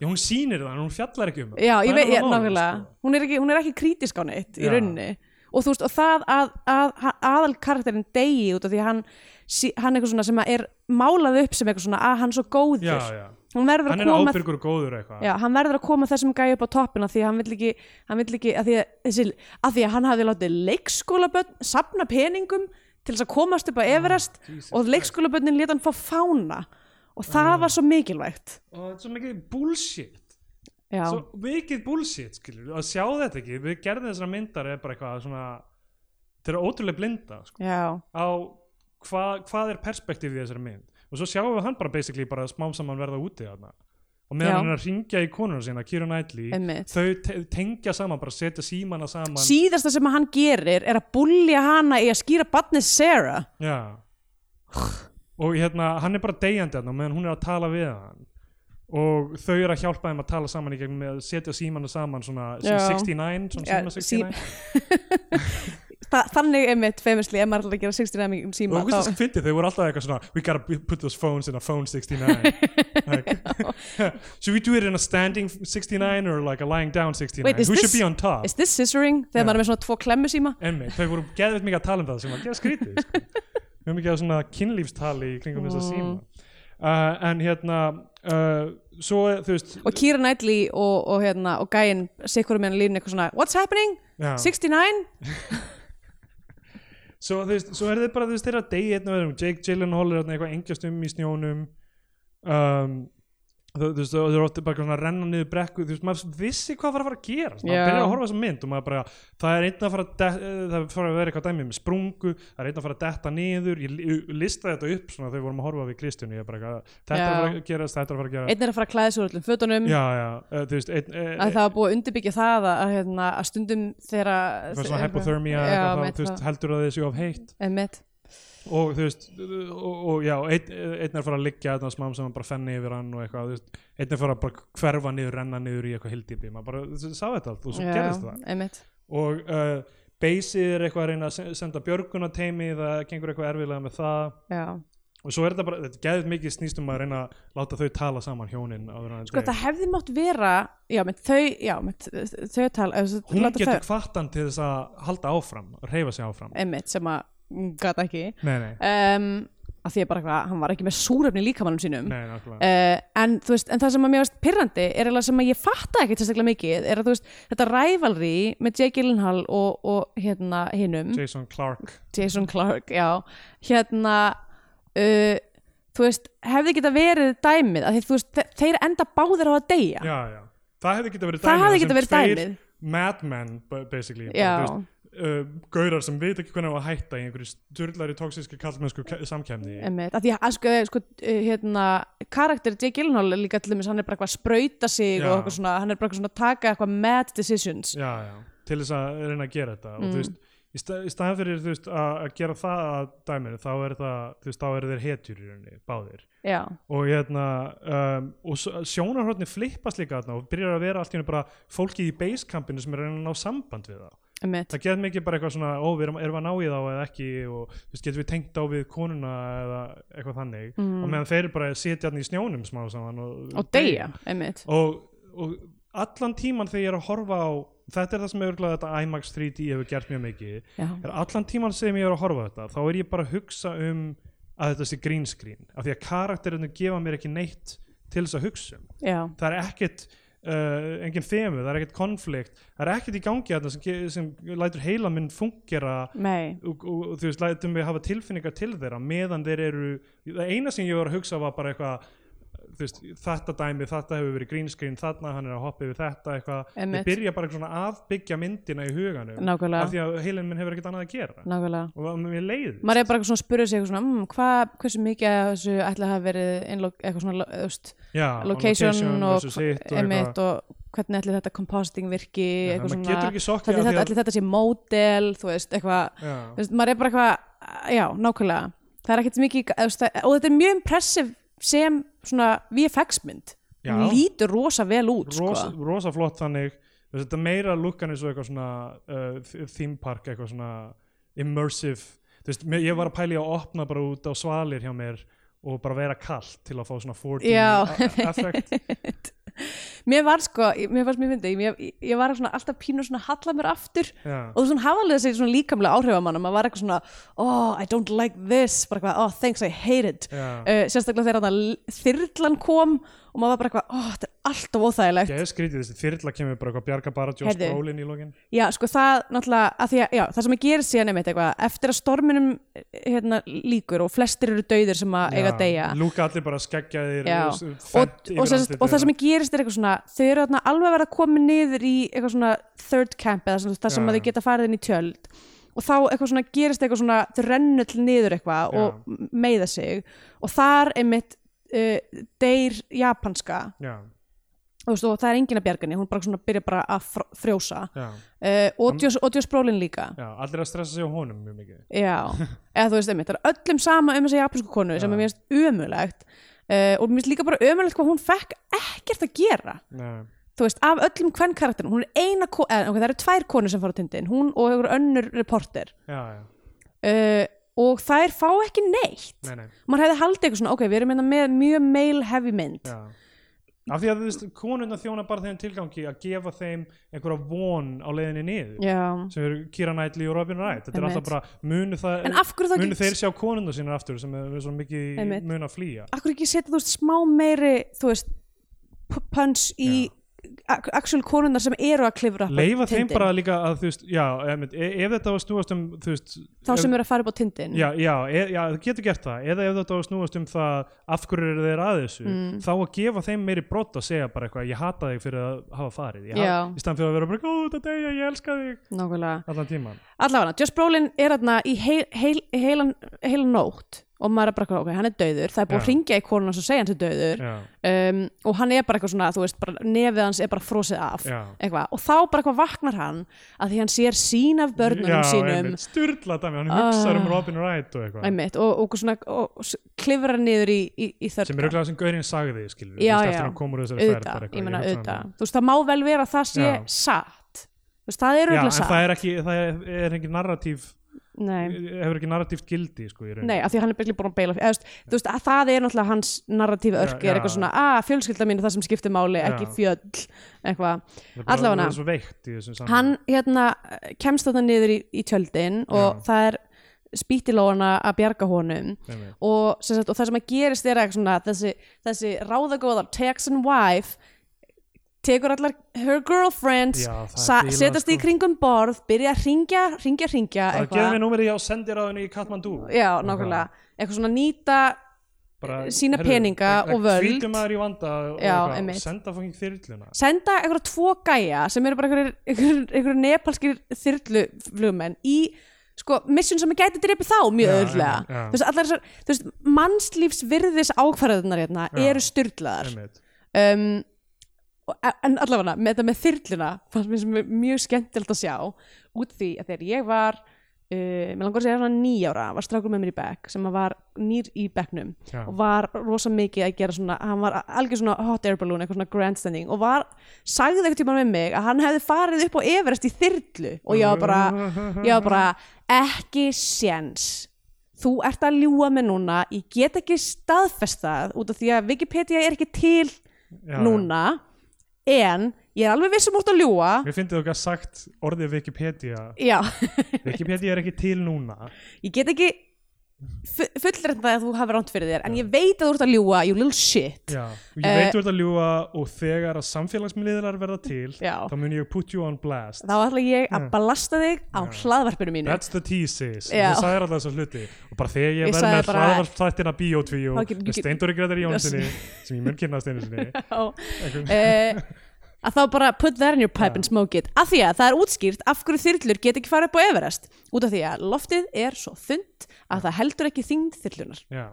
Speaker 2: já, hún sýnir það, en hún fjallar ekki um það
Speaker 1: Já, ég
Speaker 2: Það
Speaker 1: veit,
Speaker 2: er
Speaker 1: ég,
Speaker 2: nefnilega málið,
Speaker 1: nákvæmlega
Speaker 2: sko.
Speaker 1: hún, er ekki- hún er ekki krítisk á neitt í
Speaker 2: Já.
Speaker 1: rauninni og þú veist, og það að, að, að aðal karakterinn degi út af því að hann sí- hann eitthvað svona sem að er málað upp sem eitthvað svona að hann er svo góður
Speaker 2: Já, já.
Speaker 1: Hann, verður að
Speaker 2: hann er
Speaker 1: koma,
Speaker 2: ábyrgur og góður eitthvað
Speaker 1: já, hann verður að koma þessum gæja upp á toppina því að hann vill ekki, hann vill ekki að því að, þessi, að því að hann hafði látið leikskólabönn sapna peningum til þess að komast upp á Everest
Speaker 2: Ah, Jesus Ah.
Speaker 1: og leikskólabönnin leta hann fá fána og það var svo mikilvægt
Speaker 2: og þetta er svo mikið bullshit
Speaker 1: Já,
Speaker 2: svo mikið bullshit skilur að sjá þetta ekki, við gerðum þessar myndar er bara eitthvað svona þeir eru ótrúlega blinda sko,
Speaker 1: já,
Speaker 2: á hva, hvað er perspektífið í þessari mynd og svo sjáum við hann bara basically bara smám saman verða úti þarna og meðan
Speaker 1: Já.
Speaker 2: hann er að ringja í konuna sína Kira Knightley,
Speaker 1: Einmitt.
Speaker 2: þau te tengja saman bara setja símana saman
Speaker 1: síðasta sem hann gerir er að bullja hana í að skýra batnið Sarah
Speaker 2: Já Og hérna, hann er bara deyjandi hann og meðan hún er að tala við hann og þau eru að hjálpa þeim að tala saman í gegnum með að setja símanu saman svona sem
Speaker 1: Já.
Speaker 2: 69, svona
Speaker 1: Já, sí-
Speaker 2: síma 69
Speaker 1: Þa, þannig er mitt femisli ef maður ætlar að gera 60 nefning um síma
Speaker 2: og þú veist það fyndi, þau voru alltaf eitthvað svona we gotta p- put those phones in a
Speaker 1: *laughs*
Speaker 2: phone 69 like, *laughs* should we do it in a standing 69 or like a lying down 69
Speaker 1: Wait, is
Speaker 2: who
Speaker 1: this-
Speaker 2: should be on top
Speaker 1: is this scissoring þegar
Speaker 2: Já.
Speaker 1: maður er með svona tvo klemmu síma
Speaker 2: Emmi, þau voru geðveit mikið að tala um það sem var geða skrítið sko. við höfum ekki að svona kynlífstali í kringum þessa síma uh, en hérna uh, svo þú veist
Speaker 1: og Keira Knightley og, og, hérna, og gæinn sikkur með hann línu eitthvað svona what's happening?
Speaker 2: Já.
Speaker 1: 69?
Speaker 2: svo, þú veist, svo er þið bara þú veist, þeirra degi hérna, einn og öðrum Jake Gyllenhaal er þarna eitthvað engjast um í snjónum um, þú, þú veist og þeir eru ofta bara svona að renna niður brekku þú veist maður vissi hvað var að fara að gera yeah.
Speaker 1: Já.
Speaker 2: maður byrjar að horfa á þessa mynd og maður bara það er einn að fara að de- eh, það er fara að vera eitthvað dæmi með sprungu það er einn að fara að detta niður ég li- ég listaði þetta upp svona þegar við vorum að horfa við Kristjánu ég er bara eitthvað þetta er að fara að gerast þetta er að fara að gera
Speaker 1: einn er að fara að klæða sér úr öllum fötunum
Speaker 2: já já eh, þú veist einn, eh,
Speaker 1: að það var búið að undirbyggja það að, hérna, að stundum þegar að-
Speaker 2: eitthvað svona hypothermia
Speaker 1: Já,
Speaker 2: eitthvað, þá,
Speaker 1: einmitt
Speaker 2: þú veist, heldur að þessi of heitt
Speaker 1: það. Einmitt.
Speaker 2: og þú veist og, og já, einn, einn er fara að liggja þarna smám sem hann bara fenni yfir hann og eitthvað þú veist, einn er fara að bara hverfa niður, renna niður í eitthvað hildýpi, maður bara þú veist, sá þetta allt og svo
Speaker 1: Já,
Speaker 2: gerðist það
Speaker 1: einmitt.
Speaker 2: og uh, Basið er eitthvað að reyna að se- senda björgunateimi, það gengur eitthvað erfilega með það
Speaker 1: Já.
Speaker 2: og svo er þetta bara, þetta geðið mikið snýst um að reyna að láta þau tala saman hjónin áður en að
Speaker 1: Sko,
Speaker 2: deyja.
Speaker 1: það hefði mátt vera já, með þau, já, með þau tal
Speaker 2: hún getur hvart hann til þess að halda áfram, reyfa sig áfram
Speaker 1: einmitt sem að mm, gat ekki
Speaker 2: nei, nei,
Speaker 1: um, að því er bara hvað, hann var ekki með súrefni í líkamannum sínum
Speaker 2: nei, nákvæmlega
Speaker 1: Uh, en, þú veist, en það sem að mér varst pirrandi er eiginlega sem að ég fatta ekki tilstaklega mikið er að þú veist, þetta rævalri með Jake Gyllenhaal og, og hérna hinum,
Speaker 2: Jason Clark
Speaker 1: Jason Clark já, hérna uh, þú veist, hefði geta verið dæmið, af því þú veist, þe- þeir enda báðir á að deyja
Speaker 2: já, já. það hefði geta verið
Speaker 1: Það
Speaker 2: dæmið
Speaker 1: hefði
Speaker 2: þar sem
Speaker 1: geta verið
Speaker 2: tveir
Speaker 1: dæmið.
Speaker 2: madmen bu- basically bara,
Speaker 1: Já.
Speaker 2: þú veist, uh, gaurar sem veit ekki hvernig á að hætta í einhverju styrlari tóksíski kallmennsku ke- samkæmni
Speaker 1: Einmitt, að því að sko, eh, sko, eh, hérna, karakter Jake Gyllenhaal er líka til dæmis, hann er bara eitthvað að sprauta sig
Speaker 2: Já.
Speaker 1: og eitthvað svona, hann er bara eitthvað svona að taka eitthvað mad decisions
Speaker 2: já, já, til þess að reyna að gera
Speaker 1: Mm.
Speaker 2: þetta og þú veist í, sta í staðan fyrir þú veist að að gera það að dæminu þá er það þú veist þá eru þeir hetjur í rauninni báðir
Speaker 1: já,
Speaker 2: og hérna um, og sjónarhóttni flippast líka þarna og byrjar að vera allt í henni bara fólki í basecampinu sem er að reyna að ná samband við það
Speaker 1: einmitt,
Speaker 2: það getur mikið bara eitthvað svona ó, við erum, erum að ná í þá eða ekki og þú veist, getum við tengt á við konuna eða eitthvað þannig og meðan þeir eru bara að sitja hann í snjónum smá saman og,
Speaker 1: Mm. og deyja einmitt,
Speaker 2: og, og allan tíman þegar ég er að horfa á þetta er það sem örgulega þetta IMAX 3D hefur gert mjög mikið
Speaker 1: já,
Speaker 2: er allan tíman sem ég er að horfa á þetta þá er ég bara að hugsa um að þetta sé green screen af því að karakterinu gefa mér ekki neitt til þess að hugsa um
Speaker 1: já
Speaker 2: það er ekkert uh, engin þemu, það er ekkert konflikt það er ekkert í gangi þarna sem, ge- sem lætur heila minn fungera
Speaker 1: Nei,
Speaker 2: og, og, og þú veist, lætum við hafa tilfinningar til þeirra meðan þeir eru það eina sem ég var að hugsa var bara eitthvað þú veist, þetta dæmi, þetta hefur verið green screen þarna, hann er að hoppa yfir þetta eitthvað,
Speaker 1: Einmitt.
Speaker 2: ég byrja bara eitthvað svona að byggja myndina í huganum,
Speaker 1: Nákvæmlega.
Speaker 2: af því að heilin minn hefur ekkert annað að gera
Speaker 1: nákvæmlega
Speaker 2: og það- mér leið
Speaker 1: maður er bara eitthvað svona að spyrja sig eitthvað svona mmm, hva, hversu mikið af þessu ætla að hafa verið innlok, eitthvað svona lo- þú veist,
Speaker 2: Já, og
Speaker 1: location, og,
Speaker 2: versus hitt
Speaker 1: og, einmitt, og hvernig ætli þetta compositing virki eitthvað
Speaker 2: maður
Speaker 1: svona
Speaker 2: getur ekki
Speaker 1: ætli
Speaker 2: sokkið af því
Speaker 1: þetta,
Speaker 2: að-
Speaker 1: ætli þetta sé módel þú veist, eitthvað
Speaker 2: Já.
Speaker 1: þú veist, maður er bara eitthvað, já, nákvæmlega það er ekkert mikið, þú veist, það- og þetta er mjög impressive sem svona VFX-mynd
Speaker 2: Já.
Speaker 1: Hún lítur rosa vel út
Speaker 2: rosa,
Speaker 1: sko.
Speaker 2: rosa flott þannig þú veist, þetta meira lukkan eins og eitthvað svona uh, th- theme park, eitthvað svona immersive, þú veist, mér- ég var að pæli að opna bara út á svalir hjá mér og bara vera kallt til að fá svona 4D
Speaker 1: Já. *laughs*
Speaker 2: a- effect
Speaker 1: mér var sko, mér varst mjög myndið ég, ég, ég var svona alltaf pínu svona að halla mér aftur
Speaker 2: Já.
Speaker 1: og þú svona hafa alveg þessi svona líkamlega áhrif á manna maður var eitthvað svona, oh, I don't like this bara eitthvað, oh, thanks, I hate it
Speaker 2: Já.
Speaker 1: uh, sérstaklega þegar þarna þyrlan kom og maður var bara eitthvað, oh, þetta er alltaf óþægilegt
Speaker 2: Ég hef skrítið þessi þyrla kemur bara eitthvað bjarga bara Joss
Speaker 1: Heyrðu.
Speaker 2: Brolin í lokin
Speaker 1: Já, sko það náttúrulega, að því að, já, það sem að gera síðan einmitt eitthvað, eftir að storminum eh, hérna, líkur og flestir eru dauðir sem að eiga að deyja
Speaker 2: Lúka allir bara skeggjaðir
Speaker 1: Já,
Speaker 2: s-
Speaker 1: og,
Speaker 2: fett
Speaker 1: og,
Speaker 2: yfir
Speaker 1: sem sagt-
Speaker 2: andlitið
Speaker 1: og það sem
Speaker 2: þeirra.
Speaker 1: gerist er eitthvað svona þau eru þarna alveg að vera að koma niður í eitthvað svona third camp eða svona, það sem að
Speaker 2: Já, já.
Speaker 1: þau geta farið inn í tjöld og þá eitthvað svona gerist eitthvað svona þau rennu til niður eitthvað
Speaker 2: Já.
Speaker 1: og meiða sig og þar einmitt uh, deyr japanska
Speaker 2: já,
Speaker 1: og, veist, og það er engin að bjargani, hún bara svona byrja bara að fr- frjósa
Speaker 2: já,
Speaker 1: uh, og Joss- og Joss Brolin líka
Speaker 2: já allir að stressa sig á honum mjög mikið
Speaker 1: Já, eða þú veist einmitt, það er öllum sama um þessa japansku konu sem
Speaker 2: Já.
Speaker 1: er mér finnst ömulegt uh, og mér finnst líka bara ömulegt hvað hún fekk ekkert að gera
Speaker 2: Nei,
Speaker 1: þú veist, af öllum hvern karakterin hún er eina, ko- eða, ok, það eru tvær konur sem fara á tindin hún og hefur önnur reporter
Speaker 2: já, já,
Speaker 1: uh, og þær fá ekki neitt
Speaker 2: nei, nei
Speaker 1: maður hefði haldið eitthvað svona, ok, við erum hérna með mjög male heavy mynd
Speaker 2: Já. Af því að þú veist, konuna þjóna bara þeim tilgangi að gefa þeim einhverja von á leiðinni niður
Speaker 1: Já.
Speaker 2: sem eru Kira Knightley og Robin Wright þetta er
Speaker 1: Einmitt.
Speaker 2: alltaf bara, munu, það,
Speaker 1: en af hverju þá
Speaker 2: munu
Speaker 1: ekki
Speaker 2: þeir sjá konuna sínar aftur sem er svo mikið
Speaker 1: Einmitt.
Speaker 2: mun að flýja
Speaker 1: af hverju ekki setja, þú veist, smá meiri þú veist, p- punch í ac- actual konunar sem eru að klifra upp á
Speaker 2: leifa þeim
Speaker 1: tindinn.
Speaker 2: bara líka að þú veist, já, ef, ef þetta var snúast um þú veist,
Speaker 1: þá
Speaker 2: ef,
Speaker 1: sem eru að fara upp á tindin
Speaker 2: já, já, e, já, það getur gert það eða ef þetta var snúast um það af hverju eru þeir að þessu
Speaker 1: Mm.
Speaker 2: þá að gefa þeim meiri brot að segja bara eitthvað, ég hata þig fyrir að hafa farið ég
Speaker 1: Já.
Speaker 2: hata, í stand fyrir að vera bara, ó, þetta er ég, ég elska þig
Speaker 1: Nákvæmlega.
Speaker 2: allan tíman
Speaker 1: Allavega, Josh Brolin er þarna í heil, heil, heilan, heilan nótt og maður er bara, eitthvað, ok, hann er dauður, það er búið
Speaker 2: Já.
Speaker 1: að ringja í konuna og segja hann sé dauður
Speaker 2: já,
Speaker 1: um, og hann er bara eitthvað svona, þú veist, bara, nefið hans er bara frosið af
Speaker 2: já
Speaker 1: eitthvað, og þá bara eitthvað vaknar hann að því hann sér sín af börnunum
Speaker 2: Já,
Speaker 1: sínum
Speaker 2: einmitt, sturla dæmi, hann hugsar um
Speaker 1: Ah.
Speaker 2: Robin Wright og eitthvað
Speaker 1: einmitt, og, og, svona, og s- klifrar niður í, í, í
Speaker 2: sem
Speaker 1: þörka
Speaker 2: er auðvitað sem Gaurinn sagði skilur,
Speaker 1: Já,
Speaker 2: eftir
Speaker 1: já.
Speaker 2: að hann komur úr þessari ferð
Speaker 1: auðvitað,
Speaker 2: bara eitthvað,
Speaker 1: ég meina
Speaker 2: hugsa um
Speaker 1: auðvitað
Speaker 2: það.
Speaker 1: þú veist, það má vel vera að það sé
Speaker 2: Já.
Speaker 1: satt þú veist, það er
Speaker 2: Já, en
Speaker 1: auðvitað
Speaker 2: það
Speaker 1: satt
Speaker 2: er ekki, það er, er ekki narratív
Speaker 1: Nei.
Speaker 2: hefur ekki narratíft gildi sko, í rauninni.
Speaker 1: Nei, af því að hann er byrjuð búin að beila eða, þú veist, þú veist, að það er náttúrulega hans narratífa örki
Speaker 2: Já, já.
Speaker 1: er eitthvað svona, að fjölskylda mín er það sem skiptir máli,
Speaker 2: Já.
Speaker 1: ekki fjöll eitthvað,
Speaker 2: Það er bara-
Speaker 1: allavega.
Speaker 2: það er svo veikt í þessum
Speaker 1: hann
Speaker 2: saman
Speaker 1: hérna kemst þarna niður í, í tjöldin og
Speaker 2: Já.
Speaker 1: það er spýtilóana að bjarga honum og, sem sagt, og það sem að gerist er eitthvað svona þessi, þessi ráðagóðar Texan wife tekur allar her girlfriends
Speaker 2: Já, það er
Speaker 1: sa-
Speaker 2: bílað,
Speaker 1: setjast í
Speaker 2: sko.
Speaker 1: kringum borð byrja að ringja, ringja, ringja
Speaker 2: það gefur mér númerið á sendiráðinu í Katmandú
Speaker 1: já, nákvæmlega, eitthvað svona nýta
Speaker 2: Bara,
Speaker 1: sína
Speaker 2: heyrðu,
Speaker 1: peninga
Speaker 2: það- það
Speaker 1: og völd.
Speaker 2: hvítur maður í vanda og
Speaker 1: Já,
Speaker 2: eitthvað,
Speaker 1: einmitt.
Speaker 2: og senda fangin þyrluna
Speaker 1: senda einhverja tvo gæja sem eru bara einhverjir- einhverjir einhverjir nepalskir þyrluflugmenn í sko, mission sem gæti drepið þá mjög
Speaker 2: Já,
Speaker 1: öðvöldlega
Speaker 2: einmitt, já.
Speaker 1: þú veist, allar þessar, þú veist, mannslífs virðis ákvarðunar hérna
Speaker 2: Já.
Speaker 1: eru styrlaðar
Speaker 2: Einmitt.
Speaker 1: um, og- en allavega með þetta með þyrluna fannst mér sem er mjög skemmtilegt að sjá út því að þegar ég var uh, mér langar að segja svona nýjára var strákur með mér í bekk sem að var nýr í bekknum
Speaker 2: Já.
Speaker 1: og var rosa mikið að gera svona hann var algjör svona hot air balloon eitthvað svona grandstanding og var, sagði eitthvað tíma með mig að hann hefði farið upp á Everest í þyrlu og ég var
Speaker 2: *laughs*
Speaker 1: bara, ég var bara ekki séns þú ert að ljúga með núna ég get ekki staðfest það út af því að Wikipedia er ekki til
Speaker 2: Já, já.
Speaker 1: núna en ég er alveg vissum út að ljúga
Speaker 2: Mér finnst þú ekki að sagt
Speaker 1: *laughs*
Speaker 2: orðið Wikipedia
Speaker 1: já,
Speaker 2: Wikipedia er ekki til núna
Speaker 1: ég get ekki fullrænt að þú hafi ránt fyrir þér en ég veit að þú ert að ljúga, you little shit
Speaker 2: Já, og ég
Speaker 1: Eh,
Speaker 2: veit þú ert að ljúga og þegar að samfélagsmiðlar verða til
Speaker 1: Já.
Speaker 2: þá mun ég put you on blast
Speaker 1: þá ætla ég að balasta þig á hlaðvarpinu mínu
Speaker 2: That's the thesis,
Speaker 1: Já.
Speaker 2: og þú sagðir alltaf þessa hluti og bara þegar
Speaker 1: Ég
Speaker 2: ég verð
Speaker 1: sagði
Speaker 2: með
Speaker 1: bara-
Speaker 2: hraðvarpstættina Bíotvíu
Speaker 1: Þá get-
Speaker 2: með
Speaker 1: get-
Speaker 2: Steindóri Gretar Jónssoni sem ég mun kynast einu sinni
Speaker 1: Já. *laughs* Eh, að þá bara put that in your pipe and smoke it af því að það er útskýrt af hverju þyrlur get ekki farið upp á Everest út af því að loftið er svo þund að það heldur ekki þyngd þyrlunar
Speaker 2: Já.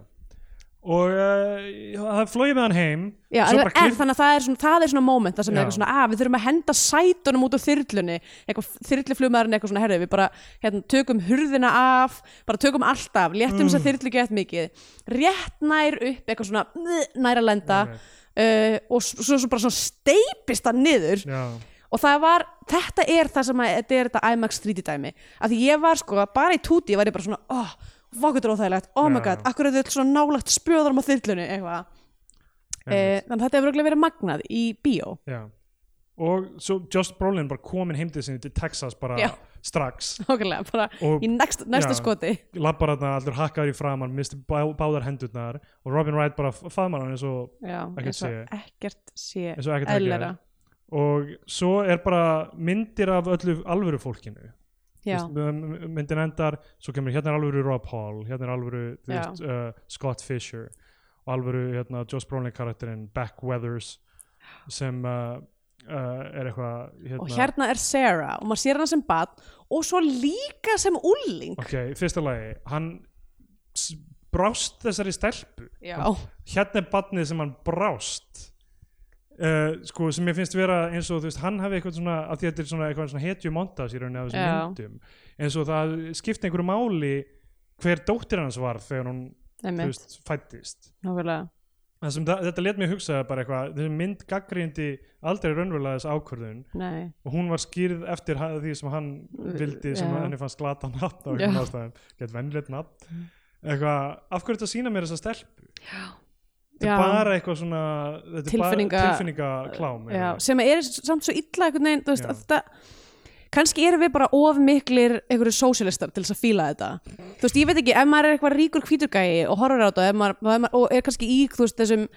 Speaker 2: og uh, það flóið með hann heim
Speaker 1: Já,
Speaker 2: svo
Speaker 1: en,
Speaker 2: bara
Speaker 1: en
Speaker 2: klipp
Speaker 1: þannig að það er svona, það er svona moment það sem
Speaker 2: Já.
Speaker 1: er eitthvað svona, að við þurfum að henda sætunum út úr þyrlunni, eitthvað þyrluflumæðurinn eitthvað svona, herðu, við bara hérna, tökum hurðina af, bara tökum allt af léttum
Speaker 2: Mm.
Speaker 1: þess að þyrlu gett mikið rétt nær upp, eitthvað svona "Mh", nær að lenda
Speaker 2: Einmitt.
Speaker 1: uh, og s- svo, svo bara svona steipist það niður
Speaker 2: Já,
Speaker 1: og það var, þetta er það sem að þetta er þetta IMAX 3D dæmi að því ég var sko, bara í túti var ég bara svona oh, vakutur óþægilegt, oh my
Speaker 2: Já.
Speaker 1: god akkur er þetta svona nálægt spjöðarum á þyrlunni eitthvað e,
Speaker 2: einmitt.
Speaker 1: þannig að þetta hefur örugglega verið magnað í bíó *laughs*
Speaker 2: Já. og svo Josh Brolin bara komin heim til sinni til Texas bara
Speaker 1: Já. *laughs*
Speaker 2: strax
Speaker 1: okkurlega, bara
Speaker 2: Og-
Speaker 1: í næsta, næsta
Speaker 2: já.
Speaker 1: skoti
Speaker 2: labbar hann allir hakkaður í framann misti bá, báðar hendurnar og Robin Wright bara f- faðmar hann eins og,
Speaker 1: já,
Speaker 2: Ekkert
Speaker 1: eins og
Speaker 2: sé.
Speaker 1: ekkert sé
Speaker 2: eins og ekkert hafi
Speaker 1: eðlera
Speaker 2: gerst. og svo er bara myndir af öllu alvöru fólkinu
Speaker 1: já,
Speaker 2: Þú veist, m- m- myndin endar, svo kemur hérna er alvöru Rob Hall, hérna er alvöru þú
Speaker 1: Já.
Speaker 2: veist, uh, Scott Fisher og alvöru hérna, Joss Brolin karakterinn Beck Weathers sem uh, er eitthvað hérna,
Speaker 1: og hérna er Sarah og maður sér hana sem bat og svo líka sem ulling
Speaker 2: ok, í fyrsta lagi, hann s- brást þessari stelpu
Speaker 1: já,
Speaker 2: hérna er badnið sem hann brást Uh, sko, sem ég finnst vera eins og þú veist, hann hafi eitthvað svona, að því að þetta er svona eitthvað svona hetju montas í rauninni af þessum
Speaker 4: Já.
Speaker 2: myndum eins og það skipti einhverju máli hver dóttir hans var þegar hún þú
Speaker 4: einmitt,
Speaker 2: veist, fættist
Speaker 4: nákvæmlega
Speaker 2: það sem það, þetta let mér hugsa bara eitthvað þessi mynd gaggrindi aldrei raunverulega þess ákvörðun
Speaker 4: nei,
Speaker 2: og hún var skýrð eftir ha- því sem hann vildi sem
Speaker 4: Já.
Speaker 2: henni fannst glata nafn á
Speaker 4: Já.
Speaker 2: einhvern ástæðum, gett venjulegt nafn eitthvað, af hverju þetta sína mér þessa stelpu þetta
Speaker 4: Já.
Speaker 2: er bara eitthvað svona þetta er
Speaker 4: Tilfinninga-
Speaker 2: bara tilfinningaklám
Speaker 1: já,
Speaker 2: eiginlega.
Speaker 1: sem er samt svo illa einhvern veginn, þú veist,
Speaker 2: Já.
Speaker 1: að þetta kannski erum við bara of miklir einhverju sósialistar til þess að fíla þetta þú veist, ég veit ekki, ef maður er eitthvað ríkur hvíturgæi og horfir á þetta, ef maður, ef maður, og er kannski í, þú veist, þessum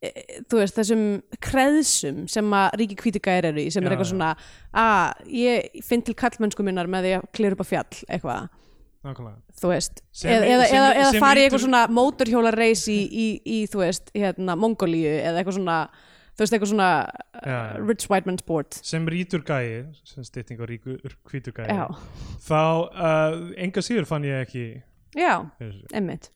Speaker 1: e, þú veist, þessum kreðsum sem að ríki hvíturgæir eru í, sem
Speaker 2: Já,
Speaker 1: er eitthvað
Speaker 2: já.
Speaker 1: svona að ég finn til kallmennsku minnar með því að klera upp á fjall, eitthvað
Speaker 2: nákvæmlega
Speaker 1: þú veist,
Speaker 2: Sem-
Speaker 1: eða, eða,
Speaker 2: sem-
Speaker 1: eða, eða
Speaker 2: sem
Speaker 1: fara í
Speaker 2: lítur-
Speaker 1: eitthvað svona mótorhjólareis í, í, í, þú veist, hérna, Mongolíu eða eitthvað svona, þú veist, eitthvað svona uh,
Speaker 2: Já, já.
Speaker 1: rich white man sport
Speaker 2: sem rítur gæi, sem stytting á ríkur hvítur gæi
Speaker 1: Já.
Speaker 2: þá uh, enga síður fann ég ekki
Speaker 1: já,
Speaker 2: fyrir þessu.
Speaker 1: emmitt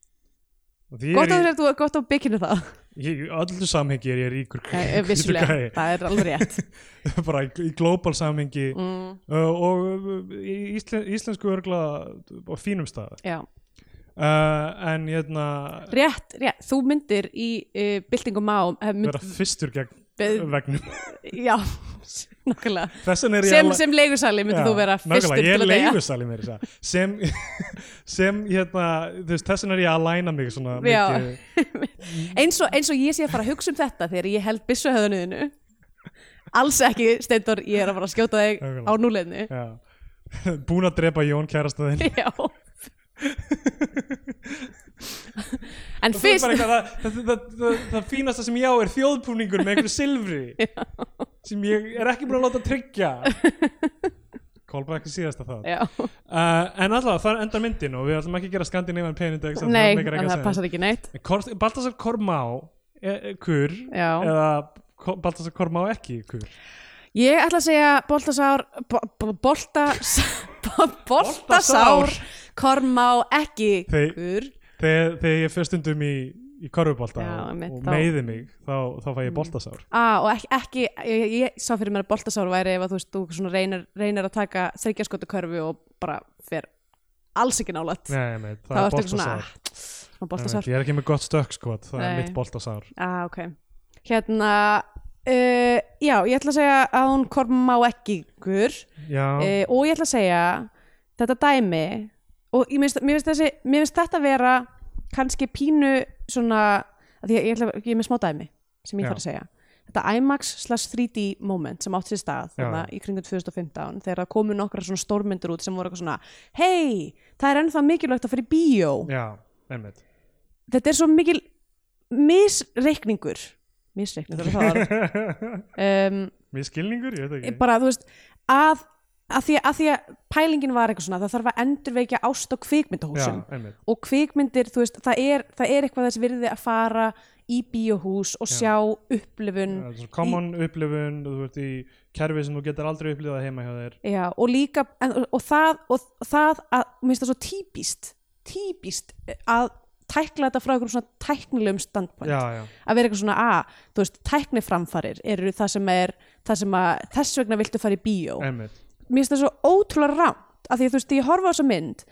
Speaker 2: Og því
Speaker 1: gott
Speaker 2: er
Speaker 1: að
Speaker 2: ég-
Speaker 1: þú ert gott á bygginu það
Speaker 2: ég- í öllu samhengi er *laughs* ég ríkur
Speaker 1: Eh,
Speaker 2: hvítur
Speaker 1: vissulega,
Speaker 2: gæi
Speaker 1: það er alveg rétt
Speaker 2: *laughs* bara í, í global samhengi
Speaker 1: mm,
Speaker 2: uh, og uh, í íslen, íslensku örgla á fínum stað
Speaker 1: já,
Speaker 2: uh, en hérna
Speaker 1: rétt, rétt, þú myndir í uh, byltingum á mynd,
Speaker 2: vera fyrstur gegn
Speaker 1: Be-
Speaker 2: vegnum
Speaker 1: já, *laughs* nokkulega
Speaker 2: *laughs* þess vegna er ég
Speaker 1: sem,
Speaker 2: alveg-
Speaker 1: sem leigusali myndir
Speaker 2: Já,
Speaker 1: þú vera
Speaker 2: nákvæmlega,
Speaker 1: fyrstur til að
Speaker 2: ég er
Speaker 1: deyja
Speaker 2: leigusali mér sem, *laughs* sem hérna, þú veist, þess vegna er ég að læna mig svona
Speaker 1: Já.
Speaker 2: mikið
Speaker 1: eins og, eins og ég sé að fara að hugsa um þetta þegar ég held byssuhöðunuðinu alls ekki, Steindor, ég er að fara að skjóta þig
Speaker 2: Nákvæmlega.
Speaker 1: á núleinu
Speaker 2: já. *laughs* búin að drepa Jón kærasta þinn
Speaker 1: *laughs* já en
Speaker 2: Þú veist
Speaker 1: fyrst
Speaker 2: bara eitthvað, það, það, það, það, það fínasta sem ég á er þjóðbúningur með einhverju
Speaker 1: *laughs*
Speaker 2: silfri sem ég er ekki búin að láta tryggja Kolba ekki síðasta það
Speaker 1: já,
Speaker 2: Uh, en alltaf, það endar myndin og við ætlum ekki að gera Scandinavian Penindex
Speaker 1: nei, en það passar ekki neitt
Speaker 2: Kort, Baltasar Kormá e, e, kur
Speaker 1: Já.
Speaker 2: eða Ko- Baltasar Kormá ekki kur
Speaker 1: ég ætla að segja Boltasár bo, bo, Bolta *laughs* Boltasár Kormá ekki
Speaker 2: Þau-
Speaker 1: kur
Speaker 2: þegar, þegar ég fyrst stundum í, í korfubolta
Speaker 4: Já,
Speaker 2: og,
Speaker 4: einmitt,
Speaker 2: og
Speaker 4: þá-
Speaker 2: meiði mig þá, þá fæ ég Baltasar
Speaker 1: Ah, og ekki, ekki ég, ég, ég sá fyrir mér að boltasár væri ef að þú veist, þú svona reynir, reynir að taka þryggjaskotu körfu og bara fer alls ekki nálægt
Speaker 2: Nei, nei, það
Speaker 1: Þá
Speaker 2: er
Speaker 1: ertu eitthvað svona,
Speaker 2: Baltasar
Speaker 1: á boltasár.
Speaker 2: Ég er ekki með gott stökk skot, það er
Speaker 4: Nei.
Speaker 2: mitt Baltasar
Speaker 1: Ah, ok. Hérna, uh, já, ég ætla að segja að hún korma á ekki ykkur
Speaker 2: Já,
Speaker 1: uh, og ég ætla að segja þetta dæmi og ég minnst, mér, finnst þessi, mér finnst þetta vera kannski pínu svona, að ég, ég, ætla, ég er með smá dæmi sem ég
Speaker 2: Já.
Speaker 1: þarf að segja þetta IMAX slash 3D moment sem átti sér stað þarna í kringum 2015 þegar það komu nokkra svona stórmyndir út sem voru eitthvað svona hei, það er ennþá mikilvægt að fyrir bíó
Speaker 2: já, einmitt *laughs*
Speaker 1: þetta er svo mikil misreikningur
Speaker 2: *laughs*
Speaker 1: misreikningur, það var um,
Speaker 2: Mér skilningur, ég veit ekki
Speaker 1: bara, þú veist, að að því, að því að pælingin var eitthvað svona það þarf að endurveikja ást á
Speaker 2: Já,
Speaker 1: kvikmyndahúsum
Speaker 2: einmitt
Speaker 1: og kvikmyndir, þú veist, það er, það er eitthvað þess virði að fara í bíóhús og sjá upplifun
Speaker 2: Það er svona Common upplifun, þú ert í kerfi sem þú getur aldrei upplifað heima hjá þér
Speaker 1: já, og líka en, og það, og, það að, mér finnst það svo típist típist að tækla þetta frá einhverjum svona tæknilegum standpoint
Speaker 2: Já, já,
Speaker 1: að vera eitthvað svona að, þú veist, tækniframfarir eru það sem er, það sem að þess vegna viltu fara í bíó
Speaker 2: einmitt
Speaker 1: mér finnst það svo ótrúlega rámt af því að þú veist, þegar ég horfa á þessa mynd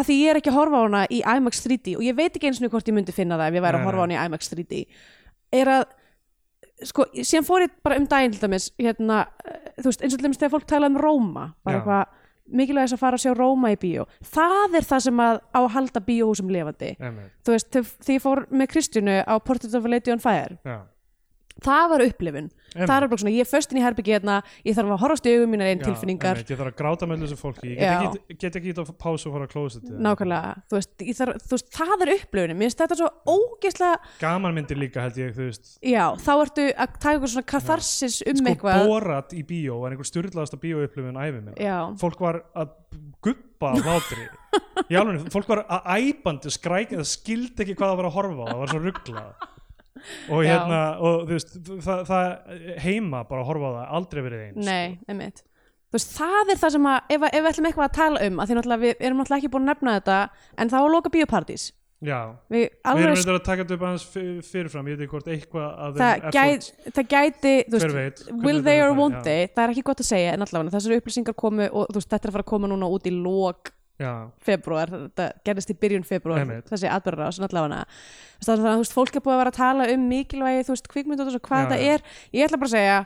Speaker 1: af því ég er ekki að horfa á hana í IMAX 3D og ég veit ekki eins og hvort ég myndi finna það ef ég væri
Speaker 2: Nei,
Speaker 1: að horfa á
Speaker 2: nei.
Speaker 1: hana í IMAX 3D er að sko, síðan fór ég bara um daginn til dæmis, hérna, eh, þú veist, eins og til dæmis þegar fólk tala um Róma, bara
Speaker 2: Já.
Speaker 1: eitthvað mikilvægis að fara að sjá Róma í bíó það er það sem að á að halda bíóhúsum lifandi
Speaker 2: Einmitt,
Speaker 1: þú veist, þegar þegar ég fór með Kristjánu á Portrait of a Lady on Fire
Speaker 2: já
Speaker 1: það var upplifun
Speaker 2: Einmitt.
Speaker 1: það er bara svona, ég er föst inn í herbyggi hérna ég þarf að horfast í augum mínar einn
Speaker 2: Já,
Speaker 1: tilfinningar
Speaker 2: einmitt, ég þarf að gráta með þessu fólki ég
Speaker 1: Já.
Speaker 2: get ekki, get ekki ít að pása og fara að klósa
Speaker 1: nákvæmlega, þú veist, ég þarf, þú veist það er upplifunin, mér finnst þetta svo ógeðslega
Speaker 2: gaman myndir líka held ég þú veist
Speaker 1: já, þá ertu að taka eitthvað svona katharsis um
Speaker 2: sko
Speaker 1: eitthvað
Speaker 2: borat í bíó en einhver styrlaðasta bíó upplifun æfi mér
Speaker 1: Já.
Speaker 2: fólk var að guppa af
Speaker 1: *laughs*
Speaker 2: átri í alveg, fólk var að æpandi skrækja það skildi ekki hvað það var að horfa á það var svo rugglað og
Speaker 4: Já.
Speaker 2: hérna og þú veist það, það heima bara að horfa á það aldrei verið eins
Speaker 4: Nei, einmitt
Speaker 1: þú veist, það er það sem að ef, ef við ætlum eitthvað að tala um, að því náttúrulega við erum náttúrulega ekki búin að nefna þetta, en það var að loka bíópartís
Speaker 2: já
Speaker 1: við
Speaker 2: við erum
Speaker 1: alveg,
Speaker 2: reyndar að taka þetta upp aðeins fyr- fyrirfram ég veit ekki hvort eitthvað að
Speaker 1: það,
Speaker 2: þeim
Speaker 1: gæt, það gæti þú veist,
Speaker 2: Hver veit,
Speaker 1: will
Speaker 2: hvernig
Speaker 1: they
Speaker 2: þetta
Speaker 1: or
Speaker 2: fer,
Speaker 1: won't
Speaker 2: já.
Speaker 1: they það er ekki gott að segja, en allavega þessar upplýsingar komu og þú veist, þetta er að fara að koma núna út í lok
Speaker 2: já,
Speaker 1: februar, þetta gerðist í byrjun februar
Speaker 2: Einmitt.
Speaker 1: þessi atbyrðar á sem allavega þannig að þú veist, fólk er búið að vera að tala um mikilvægi þú veist, kvikmynd og þessu, hvað
Speaker 2: Já,
Speaker 1: þetta
Speaker 2: já.
Speaker 1: er ég ætla bara að segja